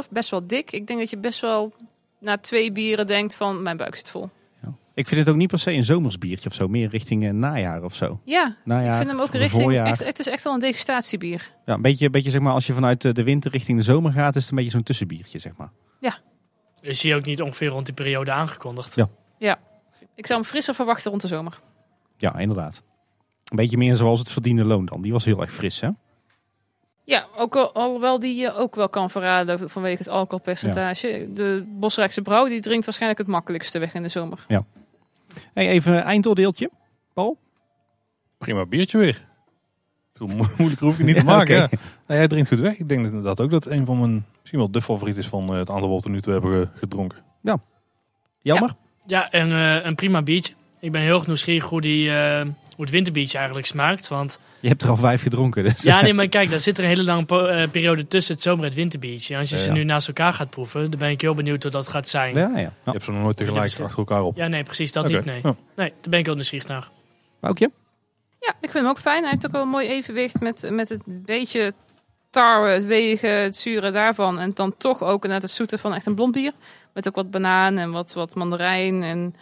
6,5, best wel dik. Ik denk dat je best wel na twee bieren denkt van mijn buik zit vol. Ja. Ik vind het ook niet per se een zomers biertje of zo, meer richting eh, najaar of zo. Ja, Najaar, ik vind hem ook voor richting... voorjaar. Echt, het is echt wel een degustatiebier. Ja, een beetje, een beetje zeg maar als je vanuit eh, de winter richting de zomer gaat, is het een beetje zo'n tussenbiertje zeg maar. Is hier ook niet ongeveer rond die periode aangekondigd. Ja. Ik zou hem frisser verwachten rond de zomer. Ja, inderdaad. Een beetje meer zoals het verdiende loon dan. Die was heel erg fris hè? Ja, ook al, alhoewel die je ook wel kan verraden vanwege het alcoholpercentage. De Bosrijkse brouw die drinkt waarschijnlijk het makkelijkste weg in de zomer. Hey, even een eindoordeeltje. Prima biertje weer. Veel mo- moeilijker hoef je niet te maken. Oké. ja. Nee, hij drinkt goed weg. Ik denk inderdaad ook dat een van mijn, misschien wel de favoriet is van eh, het aantal wat we nu toe hebben eh, gedronken. Jammer. Ja, en eh, een prima biertje. Ik ben heel erg nieuwsgierig hoe, die, eh, hoe het winterbiertje eigenlijk smaakt. Want Je hebt er al vijf gedronken. Dus. ja, nee, maar kijk, daar zit er een hele lange po- eh, periode tussen het zomer en het winterbiertje. En als je Ja, ze ja. nu naast elkaar gaat proeven, dan ben ik heel benieuwd hoe dat gaat zijn. Ja, Ja, ja. Je Nou, hebt ze nog nooit tegelijk verschil. achter elkaar op. nee, precies, dat Oké, niet, nee. ja. Nee, daar ben ik heel nieuwsgierig naar. Boukje? Ja, ik vind hem ook fijn. Hij heeft ook wel een mooi evenwicht met, met het beetje tarwe, het wegen, het zure daarvan. En dan toch ook net het zoete van echt een blond bier. Met ook wat banaan en wat, wat mandarijn. En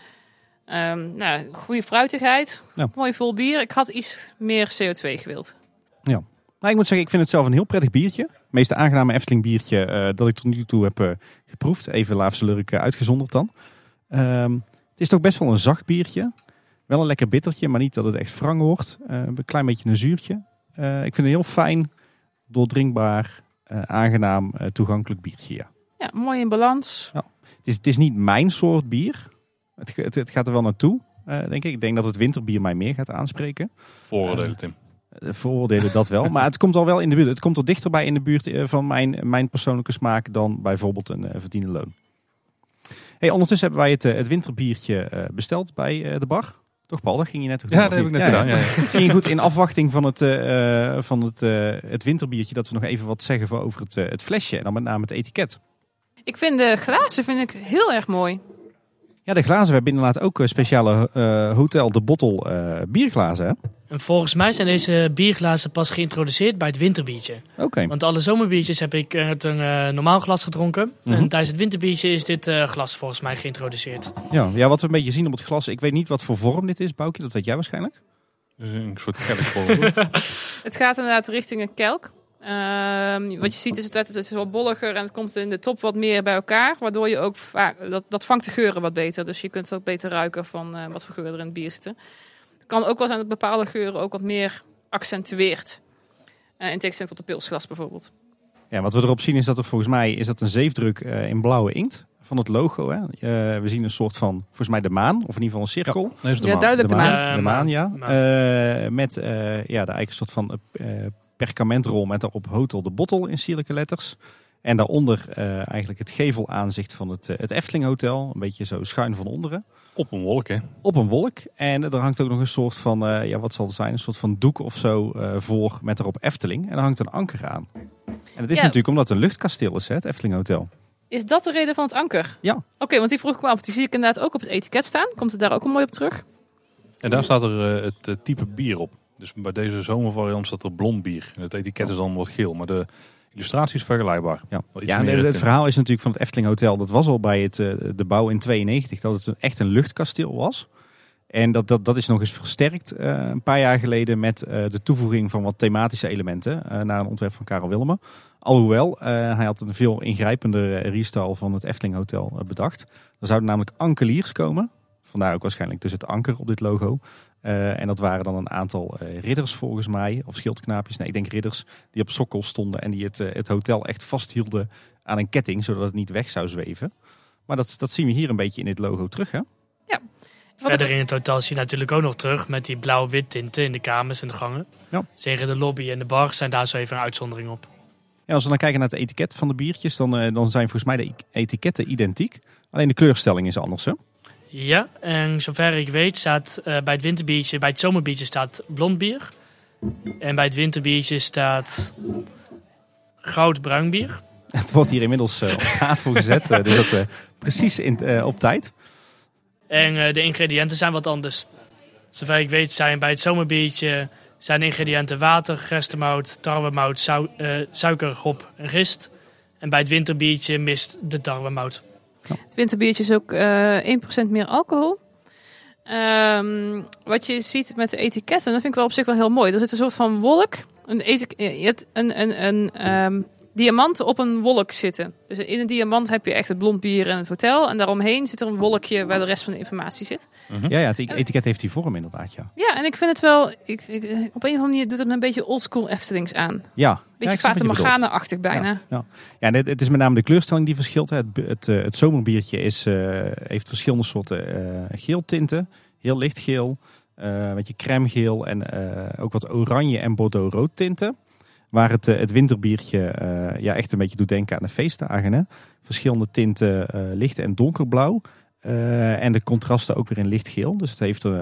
ehm, nou, goede fruitigheid. Ja. Mooi vol bier. Ik had iets meer CO2 gewild. Nou, ik moet zeggen, ik vind het zelf een heel prettig biertje. Het meest aangename Efteling biertje eh, dat ik tot nu toe heb eh, geproefd. Even Laafse Lurk eh, uitgezonderd dan. Ehm, het is toch best wel een zacht biertje. Wel een lekker bittertje, maar niet dat het echt wrang wordt. Eh, een klein beetje een zuurtje. Eh, ik vind het een heel fijn, doordrinkbaar, eh, aangenaam, eh, toegankelijk biertje. Ja. Ja, mooi in balans. Het, is, het is niet mijn soort bier. Het, ge- het, het gaat er wel naartoe, eh, denk ik. Ik denk dat het winterbier mij meer gaat aanspreken. Vooroordelen, Tim. Eh, veroordelen dat wel. Maar het komt al wel in de buurt. Het komt al dichterbij in de buurt eh, van mijn, mijn persoonlijke smaak dan bijvoorbeeld een eh, verdiende loon. Hey, ondertussen hebben wij het, eh, het winterbiertje eh, besteld bij eh, de bar. Toch Paul, dat ging je net toch Ja, dat doen, of heb ik niet? net gedaan. Ja, ja. Het ging goed in afwachting van, het, eh, eh, van het, eh, het winterbiertje dat we nog even wat zeggen voor over het, eh, het flesje. En dan met name het etiket. Ik vind de glazen vind ik heel erg mooi. Ja, de glazen. We hebben inderdaad ook eh, speciale eh, Hotel de Bottle eh, bierglazen. hè? En volgens mij zijn deze bierglazen pas geïntroduceerd bij het winterbiertje. Oké. Want alle zomerbiertjes heb ik uit een eh, normaal glas gedronken. Mhm. En tijdens het winterbiertje is dit eh, glas volgens mij geïntroduceerd. Ja, ja, wat we een beetje zien op het glas. Ik weet niet wat voor vorm dit is, Boukje. Dat weet jij waarschijnlijk. Dus een soort kelkvorm. Het gaat inderdaad richting een kelk. Ehm, wat je ziet is dat het is wat bolliger en het komt in de top wat meer bij elkaar. Waardoor je ook vaak, dat, dat vangt de geuren wat beter. Dus je kunt ook beter ruiken van eh, wat voor geuren er in het bier zitten. Het kan ook wel zijn dat bepaalde geuren ook wat meer accentueert. Eh, in tegenstelling tot de pilsglas bijvoorbeeld. Ja, wat we erop zien is dat er volgens mij is dat een zeefdruk eh, in blauwe inkt van het logo. Hè? Eh, we zien een soort van, volgens mij de maan, of in ieder geval een Ja, cirkel. nee, is de Ja, maan. duidelijk de maan. maan. De maan, ja. Maan. Eh, met eh, ja, de, eigenlijk een soort van eh, eh, perkamentrol met daarop Hotel de Bottle in sierlijke letters. En daaronder eh, eigenlijk het gevelaanzicht van het, eh, het Efteling Hotel. Een beetje zo schuin van onderen. Op een wolk, hè. Op een wolk. En er hangt ook nog een soort van, eh, ja wat zal het zijn, een soort van doek of zo eh, voor met daarop Efteling. En er hangt een anker aan. En dat is Ja. natuurlijk omdat het een luchtkasteel is, hè, het Efteling Hotel. Is dat de reden van het anker? Ja. Oké, want die vroeg ik me af. Die zie ik inderdaad ook op het etiket staan. Komt het daar ook al mooi op terug? En daar staat er eh, het eh, type bier op. Dus bij deze zomervariant staat er blond bier. En het etiket is dan wat geel, maar de illustratie is vergelijkbaar. Ja, Wel iets ja en meer het, het in. verhaal is natuurlijk van het Efteling Hotel. Dat was al bij het, eh, de bouw in 92. Dat het een- echt een luchtkasteel was. En dat, dat, dat is nog eens versterkt eh, een paar jaar geleden met eh, de toevoeging van wat thematische elementen eh, naar een ontwerp van Karel Willemme. Alhoewel, eh, hij had een veel ingrijpender eh, restyle van het Efteling Hotel eh, bedacht. Er zouden namelijk ankeliers komen. Vandaar ook waarschijnlijk dus het anker op dit logo. Eh, en dat waren dan een aantal eh, ridders volgens mij, of schildknaapjes. Nee, ik denk ridders die op sokkel stonden en die het, eh, het hotel echt vasthielden aan een ketting, zodat het niet weg zou zweven. Maar dat, dat zien we hier een beetje in dit logo terug, hè? Wat ik- Verder in het hotel zie je natuurlijk ook nog terug met die blauw-wit tinten in de kamers en de gangen. Ja. Zeker de lobby en de bar zijn daar zo even een uitzondering op. En als we dan kijken naar het etiket van de biertjes, dan, eh, dan zijn volgens mij de i- etiketten identiek. Alleen de kleurstelling is anders, hè? Ja, en zover ik weet staat eh, bij het winterbiertje, bij het zomerbiertje staat blond bier. En bij het winterbiertje staat goudbruin bier. Het wordt hier inmiddels eh, op tafel gezet, eh, dus dat eh, precies in, eh, op tijd. En eh, de ingrediënten zijn wat anders. Zover ik weet zijn bij het zomerbiertje zijn de ingrediënten water, gerstemout, tarwemout, sau- eh, suiker, hop en gist. En bij het winterbiertje mist de tarwemout. Het winterbiertje is ook eh 1% meer alcohol. Ehm, wat je ziet met de etiketten, dat vind ik wel op zich wel heel mooi. Er zit een soort van wolk, een, etik- eh, je hebt een, een, een ehm, diamant op een wolk zitten. Dus in een diamant heb je echt het blond bier en het hotel. En daaromheen zit er een wolkje waar de rest van de informatie zit. Ja, ja, het e- etiket heeft die vorm inderdaad, ja. Ja, en ik vind het wel, ik, ik- op een of andere manier doet het me een beetje oldschool Eftelings aan. Ja, ja, Beetje ik snap wat Fata je bedoelt. Morgana-achtig bijna. Ja, ja. ja en het, het is met name de kleurstelling die verschilt. hè. Het, bu- het, eh, het zomerbiertje is, eh, heeft verschillende soorten eh geeltinten. Heel lichtgeel, eh een beetje crèmegeel en eh, ook wat oranje en bordeaux-rood tinten. Waar het, eh, het winterbiertje eh, ja, echt een beetje doet denken aan de feestdagen. Hè? Verschillende tinten, eh, licht en donkerblauw. Eh, en de contrasten ook weer in lichtgeel. Dus het heeft... eh,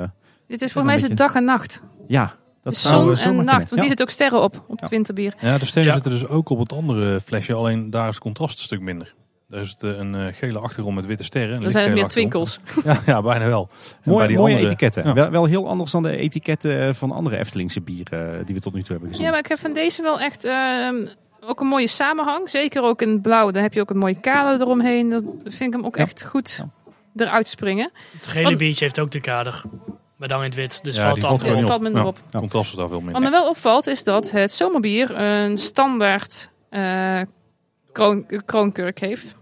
Dit is Wel voor mij een is het dag en nacht. ja, dat Dus zou, eh, zon zomaar en nacht, kunnen. want Ja. hier zitten ook sterren op, op Ja. het winterbier. Ja, de sterren Ja. zitten dus ook op het andere flesje, alleen daar is het contrast een stuk minder. Daar is het eh, een eh, gele achtergrond met witte sterren. en Dan zijn er meer lichtgele twinkels. achtergrond. Ja, ja, bijna wel. En bij Mooi, die mooie andere- etiketten. Ja. Wel, wel heel anders dan de etiketten van andere Eftelingse bieren eh, die we eh, tot nu toe hebben gezien. Ja, maar ik heb van deze wel echt ehm, Ook een mooie samenhang. Zeker ook in het blauw. Dan heb je ook een mooie kader eromheen. Dat vind ik hem ook Ja. echt goed Ja. eruit springen. Het gele Want- beach heeft ook de kader. Maar dan in het wit. Dus Ja, valt die valt het altijd gewoon Ja, niet valt op. minder op. Ja. Contrast is daar veel Wat minder. me wel opvalt is dat het zomerbier een standaard eh, kroon, kroonkurk heeft.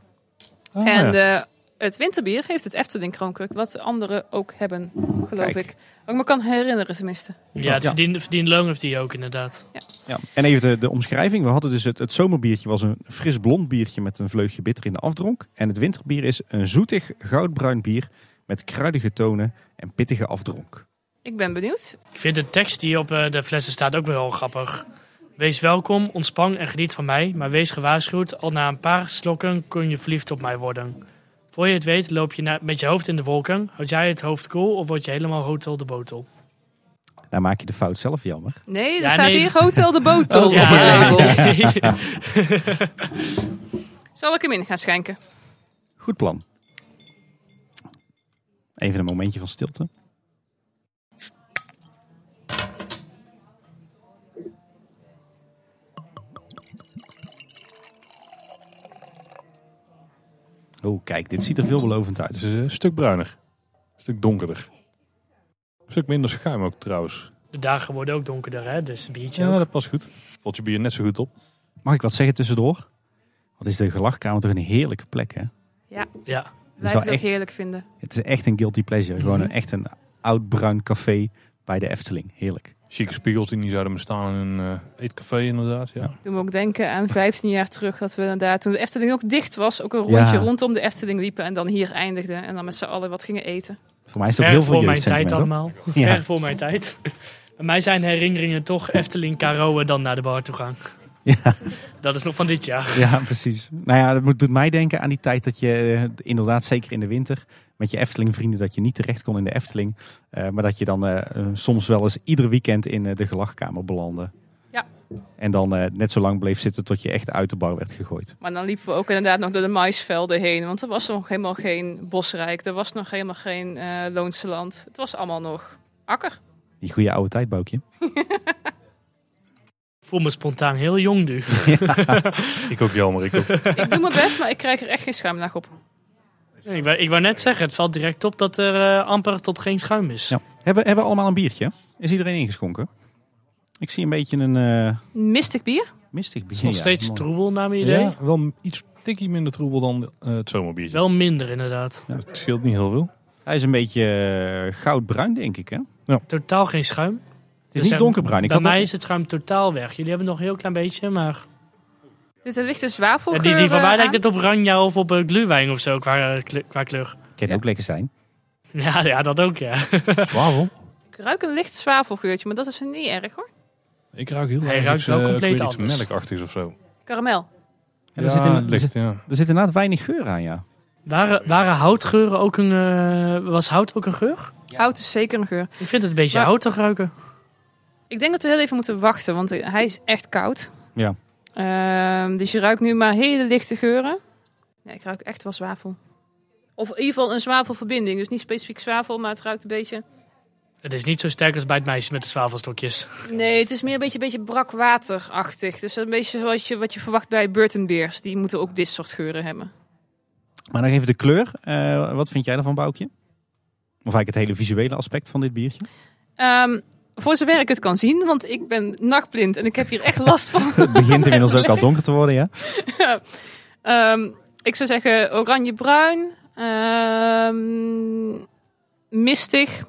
Ah, en ja. eh, het winterbier heeft het Efteling kroonkurk. Wat de anderen ook hebben, geloof Kijk. ik. Wat ik me kan herinneren tenminste. Ja, het Ja. verdiende, verdiende loon heeft hij ook inderdaad. Ja. En even de, de omschrijving. We hadden dus het, het zomerbiertje was een fris blond biertje met een vleugje bitter in de afdronk. En het winterbier is een zoetig goudbruin bier met kruidige tonen en pittige afdronk. Ik ben benieuwd. Ik vind de tekst die op eh, de flessen staat ook wel heel grappig. Wees welkom, ontspan en geniet van mij, maar wees gewaarschuwd. Al na een paar slokken kun je verliefd op mij worden. Voor je het weet loop je na- met je hoofd in de wolken. Houd jij het hoofd koel of word je helemaal hotel de botel? Nou maak je de fout zelf jammer. Nee, er Ja, staat nee. hier Hotel de Botel op het label. Zal ik hem in gaan schenken? Goed plan. Even een momentje van stilte. Oh, kijk, dit ziet er veelbelovend Het uit. is eh, een stuk bruiner. Een stuk donkerder. Een stuk minder schuim ook trouwens. De dagen worden ook donkerder, hè? Dus het biertje Ja, ook. dat past goed. Valt je bier net zo goed op. Mag ik wat zeggen tussendoor? Wat is de gelachkamer toch een heerlijke plek, hè? Ja. Blijf wel het ook echt- heerlijk vinden. Het is echt een guilty pleasure. Gewoon Mhm. een, echt een oud bruin café bij de Efteling. Heerlijk. Chique spiegels die niet zouden bestaan in een eh, eetcafé inderdaad. Ja. Doe me ook denken aan 15 jaar terug dat we inderdaad, toen de Efteling nog dicht was, ook een rondje Ja. rondom de Efteling liepen en dan hier eindigden. En dan met z'n allen wat gingen eten. Voor mij is het ook Ver heel veel voor mijn tijd jeugdsentiment, allemaal. hoor. Ver voor mijn tijd. Bij mij zijn herinneringen toch Efteling Karoe dan naar de bar toe gaan. Ja. Dat is nog van dit jaar. Ja, precies. Nou ja, dat moet- doet mij denken aan die tijd dat je eh, inderdaad, zeker in de winter, met je Efteling-vrienden, dat je niet terecht kon in de Efteling. eh, maar dat je dan eh, eh, soms wel eens ieder weekend in eh, de gelachkamer belandde. Ja. En dan eh, net zo lang bleef zitten tot je echt uit de bar werd gegooid. Maar dan liepen we ook inderdaad nog door de maisvelden heen, want er was nog helemaal geen bosrijk, er was nog helemaal geen eh Loonse land. Het was allemaal nog akker. Die goede oude tijd, Boukje. Ik voel me spontaan heel jong nu. Ik ook jammer. Ik ook. ik doe mijn best, maar ik krijg er echt geen schuimlaag op. Ik wou, ik wou net zeggen, het valt direct op dat er eh, amper tot geen schuim is. Ja. Hebben, hebben we allemaal een biertje? Is iedereen ingeschonken? Ik zie een beetje een eh, Mistig bier? mistig biertje. Nog steeds troebel naar mijn idee. Ja, wel iets tikkie minder troebel dan eh, het zomerbiertje. Wel minder inderdaad. Het scheelt niet heel veel. Hij is een beetje eh, goudbruin, denk ik. Hè? Het Totaal geen schuim. is Dus niet zeg- donkerbruin. Ik Bij had mij ook- is het schuim totaal weg. Jullie hebben nog een heel klein beetje, maar... Dit een lichte Ja, zwavelgeur die, die van mij eh, lijkt aan. het op ranja of op eh, glühwein of zo qua, eh, kle- qua kleur. kan ook lekker zijn. Ja, ja, dat ook, ja. Zwavel. Ik ruik een licht zwavelgeurtje, maar dat is niet erg hoor. Ik ruik heel Hij erg ruikt iets, wel eh, ik compleet weet iets anders. melkachtigs of zo. Karamel. Ja, er zit in- het er licht, zit- ja. Er zit inderdaad weinig geur aan, ja. Waren, waren houtgeuren ook een... eh, was hout ook een geur? Hout is zeker een geur. Ik vind het een beetje Maar- houtig ruiken. Ik denk dat we heel even moeten wachten, want hij is echt koud. Ja. Ehm, dus je ruikt nu maar hele lichte geuren. Ja, ik ruik echt wel zwavel. Of in ieder geval een zwavelverbinding. Dus niet specifiek zwavel, maar het ruikt een beetje... Het is niet zo sterk als bij het meisje met de zwavelstokjes. Nee, het is meer een beetje, beetje brakwaterachtig. Dus een beetje zoals je, wat je verwacht bij Burton Beers. Die moeten ook dit soort geuren hebben. Maar nog even de kleur. Eh, wat vind jij daarvan, Boukje? Of eigenlijk het hele visuele aspect van dit biertje? Ehm, voor zover ik het kan zien, want ik ben nachtblind. En ik heb hier echt last van. Het begint inmiddels ook al donker te worden, ja. Ehm, ik zou zeggen oranje-bruin. ehm, mistig.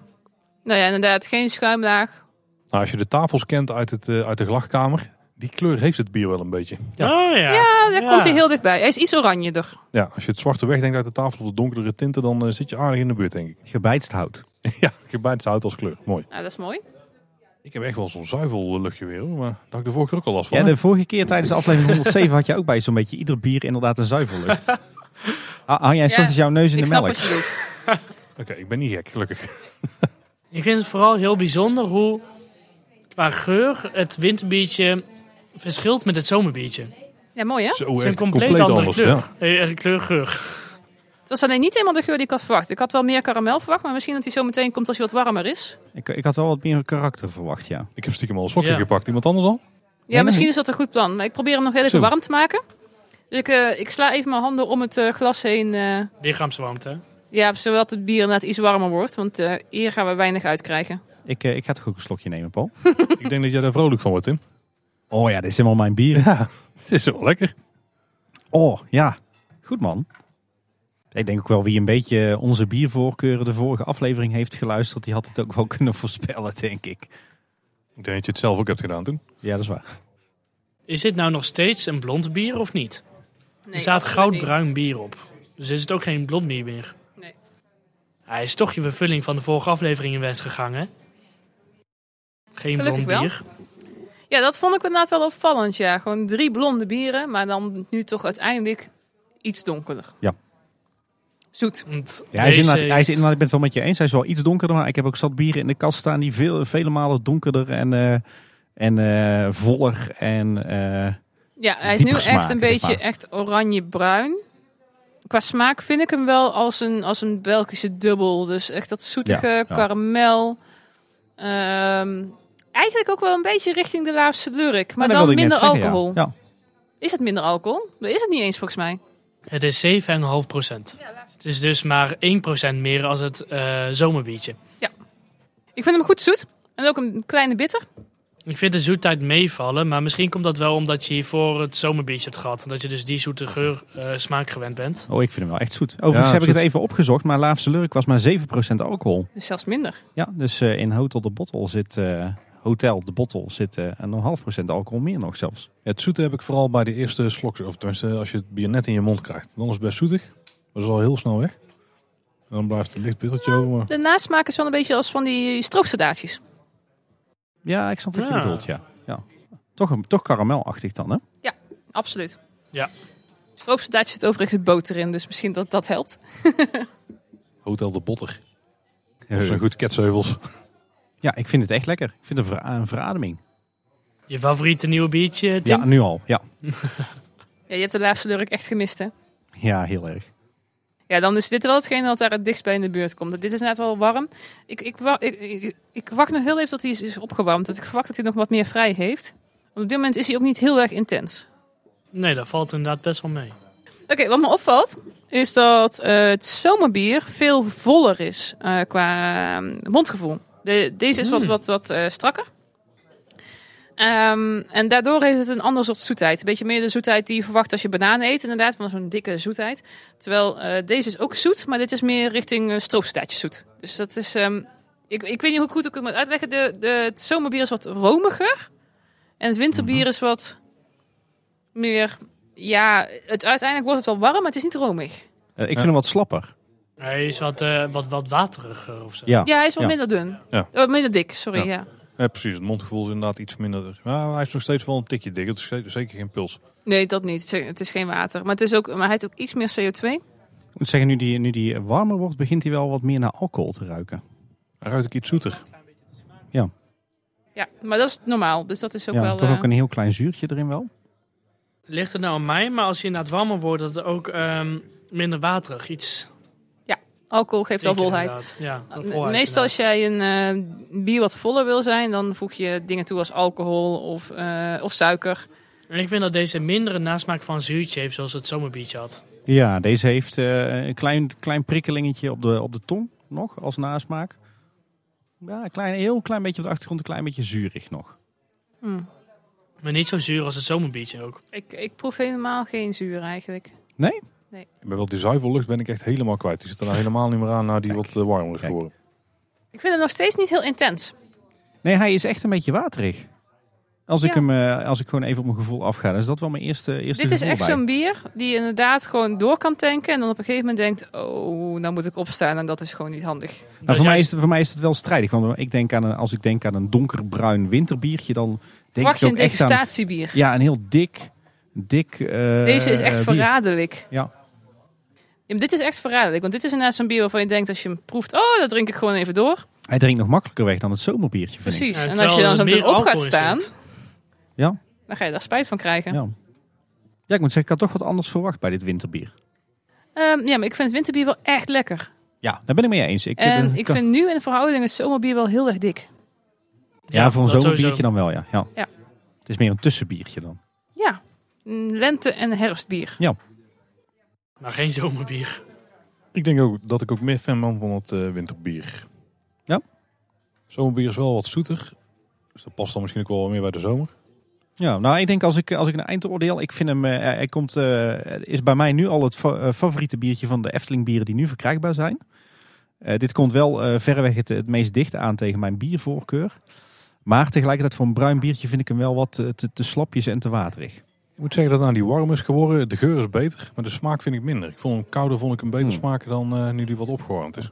Nou ja, inderdaad, geen schuimlaag. Nou, als je de tafels kent uit, het, eh, uit de glachkamer, die kleur heeft het bier wel een beetje. Ja. Oh ja. Ja, daar Ja. komt hij heel dichtbij. Hij is iets oranjeder. Ja, als je het zwarte wegdenkt uit de tafel of de donkerdere tinten, dan eh, zit je aardig in de buurt, denk ik. Gebijtst hout. ja, gebijt hout als kleur. Mooi. Nou, dat is mooi. Ik heb echt wel zo'n zuivel eh, luchtje weer, hoor, maar daar had ik de vorige keer ook al last van. Ja, hè? de vorige keer tijdens de aflevering 107 had je ook bij zo'n beetje ieder bier inderdaad een zuivellucht. Ha- Hou jij Ja, soms jouw neus in ik de snap melk? wat je bedoelt. Oké, ik ben niet gek, gelukkig. Ik vind het vooral heel bijzonder hoe qua geur het winterbiertje verschilt met het zomerbiertje. Het Ja, mooi hè? Zo is echt een compleet, andere kleur. ja. Eh, eh, kleurgeur. Het was alleen niet helemaal de geur die ik had verwacht. Ik had wel meer karamel verwacht, maar misschien dat hij zo meteen komt als hij wat warmer is. Ik, ik had wel wat meer karakter verwacht, ja. Ik heb stiekem al een sokje Ja. gepakt. Iemand anders al? nee. misschien is dat een goed plan. Maar ik probeer hem nog heel even Zo. warm te maken. Dus ik, eh, ik sla even mijn handen om het eh, glas heen. eh, Lichaamswarmte. ja, zodat het bier inderdaad iets warmer wordt. Want eh, hier gaan we weinig uitkrijgen. Ik, eh, ik ga toch ook een slokje nemen, Paul? Ik denk dat jij daar vrolijk van wordt, Tim. Oh ja, dit is helemaal mijn bier. Ja, het is wel lekker. Oh ja, goed man. Ik denk ook wel wie een beetje onze biervoorkeuren de vorige aflevering heeft geluisterd, die had het ook wel kunnen voorspellen, denk ik. Ik denk dat je het zelf ook hebt gedaan toen. Ja, dat is waar. Is dit nou nog steeds een blond bier of niet? Nee, Er staat absoluut niet. goudbruin bier op. Dus is het ook geen blond bier meer? Nee. Hij is toch je vervulling van de vorige aflevering in wens gegaan, hè? Geen Gelukkig blond wel. bier. Ja, dat vond ik inderdaad wel opvallend. Ja, gewoon drie blonde bieren, maar dan nu toch uiteindelijk iets donkerder. Ja. Zoet. Want Ja, hij, is deze inderdaad, hij is heeft- inderdaad, ik ben het wel met je eens, hij is wel iets donkerder, maar ik heb ook zat bieren in de kast staan die veel, vele malen donkerder en, eh, en eh, voller en eh, Ja, hij is nu Dieper echt smaak, een zeg beetje maar. echt oranje-bruin. Qua smaak vind ik hem wel als een, als een Belgische dubbel. Dus echt dat zoetige Ja, ja. karamel. Ehm, eigenlijk ook wel een beetje richting de Laafse Lurik. Maar Ah, dat dan wilde ik minder net zeggen, ja. alcohol. Ja. Is het minder alcohol? Dat is het niet eens volgens mij. Het is 7,5 procent. het is dus maar 1 procent meer als het eh, zomerbiertje. Ik vind hem goed zoet. En ook een kleine bitter. Ik vind de zoetheid meevallen, maar misschien komt dat wel omdat je hiervoor het zomerbiertje hebt gehad. En dat je dus die zoete geur eh, smaak gewend bent. Oh, ik vind hem wel echt zoet. Overigens Ja, heb ik zoet. het even opgezocht, maar Laafse Lurk was maar 7% alcohol. Dus zelfs minder. Ja, dus eh, in Hotel de Bottle zit, eh, Hotel de Bottle zit eh, een half procent alcohol meer nog zelfs. Ja, het zoete heb ik vooral bij de eerste slok. Of tenminste, als je het bier net in je mond krijgt. Dan is het best zoetig. Dat is al heel snel weg. En dan blijft een licht bittertje over. Maar De nasmaak is wel een beetje als van die stroopsoldaatjes. Ja, ik snap wat je Ja. bedoelt, ja. ja. Toch, een- toch karamelachtig dan, hè? Absoluut. Ja. Stroopsoldaatje zit overigens boter in, dus misschien dat dat helpt. Hotel de Botter. Dat zijn goed ketsheuvel. Ja, ik vind het echt lekker. Ik vind het een ver- een verademing. Je favoriete nieuwe biertje, Tim? Ja, nu al. Ja, Ja, je hebt de laatste lurk echt gemist, hè? ja heel erg. Eh, Ja, dan is dit wel hetgeen dat daar het dichtst bij in de buurt komt. Dit is net wel warm. Ik, ik, wa- ik, ik, ik wacht nog heel even tot hij is, is opgewarmd. Dat ik verwacht dat hij nog wat meer vrij heeft. Want op dit moment is hij ook niet heel erg intens. Nee, dat valt inderdaad best wel mee. Oké, wat me opvalt is dat eh, het zomerbier veel voller is eh, qua eh, mondgevoel. De, deze is wat, Mm. wat, wat eh, strakker. Ehm, en daardoor heeft het een ander soort zoetheid. Een beetje meer de zoetheid die je verwacht als je bananen eet, inderdaad, van zo'n dikke zoetheid. Terwijl eh, deze is ook zoet, maar dit is meer richting uh, zoet. Dus dat is. ehm, ik, ik weet niet hoe goed ik het moet uitleggen. De, de, het zomerbier is wat romiger. En het winterbier is wat meer ja, het, uiteindelijk wordt het wel warm, maar het is niet romig. Eh, ik vind hem wat slapper. Hij is wat, eh, wat, wat wateriger of zo. Ja. Ja, hij is wat Ja. minder dun. Ja. Eh, minder dik, sorry. Ja. Ja, precies. Het mondgevoel is inderdaad iets minder. Maar hij is nog steeds wel een tikje dik. Het is ze- zeker geen puls. Nee, dat niet. Het is- Het is geen water. Maar, het is ook, maar hij heeft ook iets meer CO2. Ik moet zeggen, nu die, nu die warmer wordt, begint hij wel wat meer naar alcohol te ruiken. Hij ruikt ook iets zoeter. Ja, maar dat is normaal. Dus dat is ook ja, wel... toch eh, ook een heel klein zuurtje erin wel. Ligt het nou aan mij, maar als je inderdaad warmer wordt, dat het ook ehm, minder waterig iets. Alcohol geeft wel Zeker volheid. Eh, inderdaad. Ja, wel Me- volheid Meestal als inderdaad. jij een eh, bier wat voller wil zijn, dan voeg je dingen toe als alcohol of, eh, of suiker. En ik vind dat deze mindere nasmaak van zuurtje heeft, zoals het zomerbiertje had. Ja, deze heeft eh, een klein, klein prikkelingetje op de, op de tong nog, als nasmaak. Ja, een klein, heel klein beetje op de achtergrond, een klein beetje zuurig nog. Hm. Maar niet zo zuur als het zomerbiertje Nou, ook. Ik, ik proef helemaal geen zuur eigenlijk. Ik ben wel die zuivellucht ben ik echt helemaal kwijt. Die zit er nou helemaal niet meer aan naar die Kijk. wat eh, warmer is Kijk. geworden. Ik vind hem nog steeds niet heel intens. Nee, hij is echt een beetje waterig. Als, ik, Ja. hem, eh, als ik gewoon even op mijn gevoel afga, dan is dat wel mijn eerste, eerste Dit is gevoel echt bij. zo'n bier die je inderdaad gewoon door kan tanken. En dan op een gegeven moment denkt, oh, nou moet ik opstaan. En dat is gewoon niet handig. Maar Dat voor, mij Dus juist- is, het- voor mij is het wel strijdig. Want ik denk aan een, als ik denk aan een donkerbruin winterbiertje, dan denk Wacht je ik een ook echt aan... degustatiebier. Ja, een heel dik, dik eh, Deze is echt bier. verraderlijk. Ja. Ja, maar dit is echt verraderlijk. Want dit is inderdaad zo'n bier waarvan je denkt als je hem proeft... oh, dat drink ik gewoon even door. Hij drinkt nog makkelijker weg dan het zomerbiertje, vind ik. Precies. Ja, en als terwijl je dan er zo meer meteen op gaat alcohol in staan... zit. Ja. dan ga je daar spijt van krijgen. Ja. ja, ik moet zeggen, ik had toch wat anders verwacht bij dit winterbier. Ehm, ja, maar ik vind het winterbier wel echt lekker. Ja, daar ben ik mee eens. Ik, En eh, ik kan- vind nu in de verhouding het zomerbier wel heel erg dik. ja, voor een dat zomerbiertje sowieso. dan wel, ja. ja. Ja. Het is meer een tussenbiertje dan. Ja, mm, lente- en herfstbier. Maar geen zomerbier. Ik denk ook dat ik ook meer fan ben van het eh, winterbier. Ja. Zomerbier is wel wat zoeter. Dus dat past dan misschien ook wel meer bij de zomer. Ja, nou ik denk als ik, als ik een eindoordeel, ik vind hem, eh, hij komt, eh, is bij mij nu al het fa- eh, favoriete biertje van de Efteling bieren die nu verkrijgbaar zijn. Eh, dit komt wel eh, verreweg het, het meest dicht aan tegen mijn biervoorkeur. Maar tegelijkertijd voor een bruin biertje vind ik hem wel wat eh, te, te slapjes en te waterig. Ik moet zeggen dat nou die warm is geworden. De geur is beter, maar de smaak vind ik minder. Ik vond hem kouder vond ik hem beter Hmm. smaken dan eh, nu die wat opgewarmd is.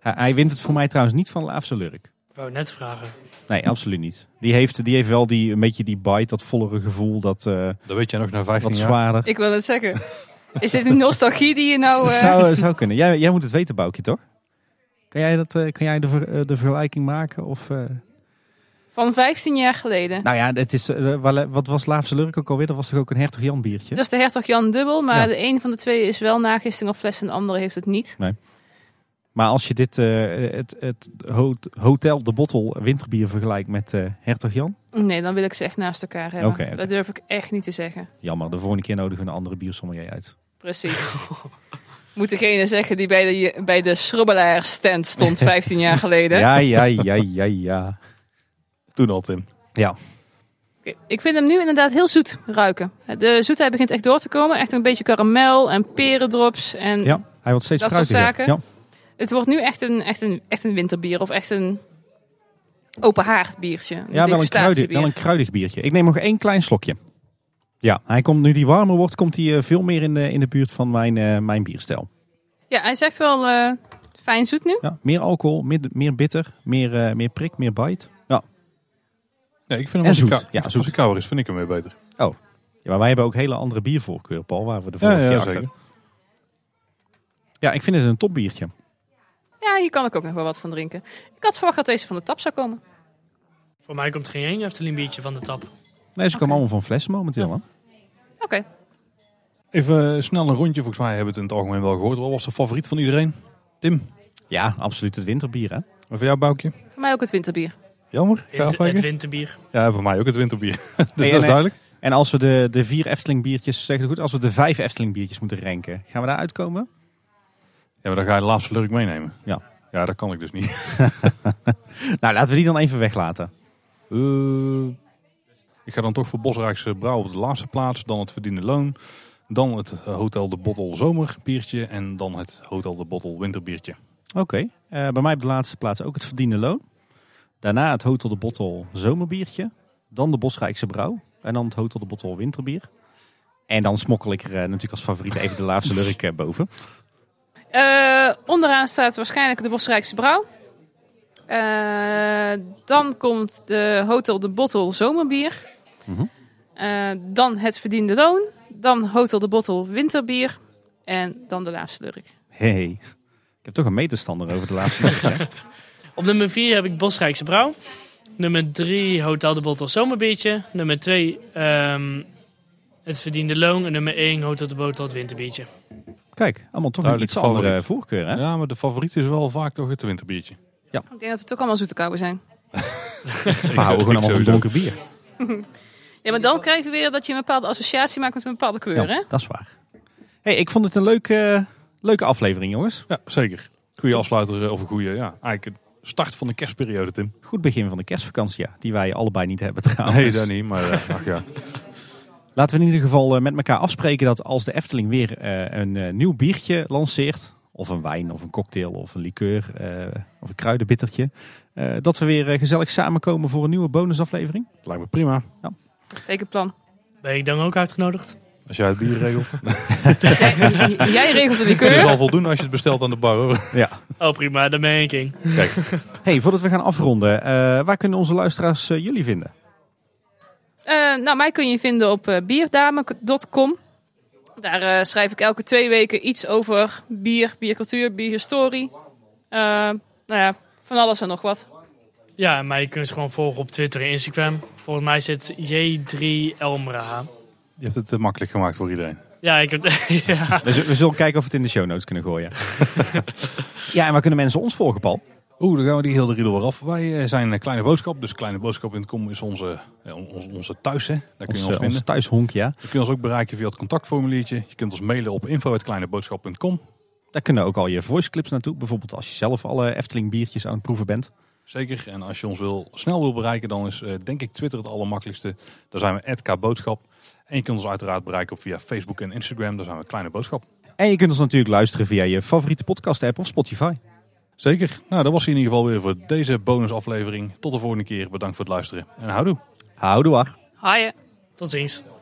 Hij, hij wint het voor mij trouwens niet van Laafse Lurk. Ik wou net vragen. Nee, absoluut niet. Die heeft, die heeft wel die, een beetje die bite, dat vollere gevoel, dat eh, Dat weet jij nog na 15 wat jaar. zwaarder. Ik wil het zeggen. Is dit een nostalgie die je nou... Dat eh, zou, zou kunnen. Jij, jij moet het weten, Boukje, toch? Kan jij, dat, eh, kan jij de, ver- eh, de vergelijking maken? Of, eh? Van 15 jaar geleden. Nou ja, het is, eh, wa- wat was Laafse Lurk ook alweer? Dat was toch ook een hertog Jan biertje? Dat is de hertog Jan Dubbel, maar Ja. de een van de twee is wel nagisting op fles en de andere heeft het niet. Maar als je dit, eh, het, het ho- Hotel de Bottle winterbier vergelijkt met eh, hertog Jan... Nee, dan wil ik ze echt naast elkaar hebben. Oké, oké. Dat durf ik echt niet te zeggen. Jammer, de volgende keer nodigen we een andere biersommelier uit. Precies. Moet degene zeggen die bij de, bij de schrubbelaar stand stond 15 jaar geleden. Ja, ja, ja, ja, ja. Toen al, Tim. Oké, Ik vind hem nu inderdaad heel zoet ruiken. De zoetheid begint echt door te komen. Echt een beetje karamel en perendrops. En Ja, hij wordt steeds Dat soort fruitiger. zaken. Het wordt nu echt een, echt, een, echt een winterbier of echt een open haard biertje. Een Ja, ja wel, een kruidig, degustatiebier. wel een kruidig biertje. Ik neem nog één klein slokje. Ja, hij komt, nu die warmer wordt, komt hij eh, veel meer in de, in de buurt van mijn, eh, mijn bierstijl. Ja, hij is echt wel eh, fijn zoet nu. Ja, meer alcohol, meer, meer bitter, meer, eh, meer prik, meer bite. Ja. Nee, ik vind hem En als hij zoet. kou- Ja, als zoet. hij kouder is, vind ik hem weer beter. Ja, maar wij hebben ook hele andere biervoorkeur, Paul, waar we de vorige keer achter- Ja, ik vind het een topbiertje. Ja, hier kan ik ook nog wel wat van drinken. Ik had verwacht dat deze van de tap zou komen. Voor mij komt geen één Efteling biertje van de tap. Nee, ze Oké. komen allemaal van flessen momenteel. Hè? Oké, Even eh, snel een rondje. Volgens mij hebben we het in het algemeen wel gehoord. Wat was de favoriet van iedereen? Tim, Ja, absoluut het winterbier, hè? en voor jou Boukje? voor mij ook het winterbier. Jammer, ga je Het, het afwijken? winterbier. Ja, voor mij ook het winterbier. dus dat is en, eh, duidelijk. En als we de, de vier Efteling biertjes, zeg het goed, als we de vijf Efteling biertjes moeten ranken, gaan we daar uitkomen? Ja, maar dan ga je de laatste lurk meenemen. Ja. Ja, dat kan ik dus niet. Nou, laten we die dan even weglaten. Eh, ik ga dan toch voor Bosrijkse Brouw op de laatste plaats. Dan het verdiende loon. Dan het eh, Hotel de Bottle zomerbiertje. En dan het Hotel de Bottle winterbiertje. Oké, eh, bij mij op de laatste plaats ook het verdiende loon. Daarna het Hotel de Bottel zomerbiertje. Dan de Bosrijkse Brouw. En dan het Hotel de Bottel winterbier. En dan smokkel ik er eh, natuurlijk als favoriet even de Laafse Lurk eh, boven. Eh, onderaan staat waarschijnlijk de Bosrijkse Brouw. Eh, dan komt de Hotel de Bottle zomerbier. Mhm. Eh, dan het verdiende loon. Dan Hotel de Bottle winterbier. En dan de laatste lurk. Hey, ik heb toch een medestander over de Laafse Lurk. hè? Op nummer 4 heb ik Bosrijkse Brouw. Nummer 3 Hotel de Bottle Zomerbiertje. Nummer 2 ehm, Het Verdiende Loon. En nummer 1 Hotel de Bottle het Winterbiertje. Kijk, allemaal toch een Duidelijk iets andere favoriet. voorkeur, hè? Ja, maar de favoriet is wel vaak toch het winterbiertje. Ik denk dat het ook allemaal zoete kouwen zijn. We houden ik gewoon allemaal sowieso. van donker bier. Ja, maar dan krijg je weer dat je een bepaalde associatie maakt met een bepaalde kleur, hè? Ja, dat is waar. hey, ik vond het een leuke, leuke aflevering, jongens. Ja, zeker. Goede afsluiter eh, of een goede, ja, eigenlijk een start van de kerstperiode, Tim. Goed begin van de kerstvakantie, ja. Die wij allebei niet hebben trouwens. Nee, dat niet, maar eh, ach ja. Laten we in ieder geval eh, met elkaar afspreken dat als de Efteling weer eh, een eh, nieuw biertje lanceert, of een wijn, of een cocktail, of een liqueur, eh, of een kruidenbittertje, eh, dat we weer eh, gezellig samenkomen voor een nieuwe bonusaflevering. Lijkt me prima. Dat is zeker plan. Ben ik dan ook uitgenodigd? Als jij het bier regelt. jij, j- jij regelt de Het is liqueur. al voldoende als je het bestelt aan de bar, hoor. Ja. Oh prima, daar ben ik in. Hey, voordat we gaan afronden, eh, waar kunnen onze luisteraars eh, jullie vinden? Eh, nou, mij kun je vinden op eh, bierdame.com. Daar eh, schrijf ik elke twee weken iets over bier, biercultuur, bierhistorie. Eh, nou ja, van alles en nog wat. Ja, en mij kunt ze gewoon volgen op Twitter en Instagram. Volgens mij zit J3 Elmera. Je hebt het eh, makkelijk gemaakt voor iedereen. Ja, ik heb... ja. We, zullen kijken of we het in de show notes kunnen gooien. ja, en waar kunnen mensen ons volgen, Paul? Oeh, dan gaan we die hele riedel weer af. Wij eh, zijn eh, Kleine Boodschap. Dus kleineboodschap.com is onze, eh, on- ons- onze thuis. Hè. Daar kun je Ons, ons eh, ons vinden. thuishonk, ja. Je kunt ons ook bereiken via het contactformuliertje. Je kunt ons mailen op info.kleineboodschap.com. Daar kunnen ook al je voiceclips naartoe. Bijvoorbeeld als je zelf alle Efteling biertjes aan het proeven bent. Zeker. En als je ons wil, snel wil bereiken, dan is eh, denk ik Twitter het allermakkelijkste. Daar zijn we @kboodschap. En je kunt ons uiteraard bereiken op via Facebook en Instagram. Daar zijn we Kleine Boodschap. En je kunt ons natuurlijk luisteren via je favoriete podcast app of Spotify. Zeker. Nou, dat was in ieder geval weer voor deze bonusaflevering. Tot de volgende keer. Bedankt voor het luisteren. En houdoe. Houdoe waar. Haaien. Tot ziens.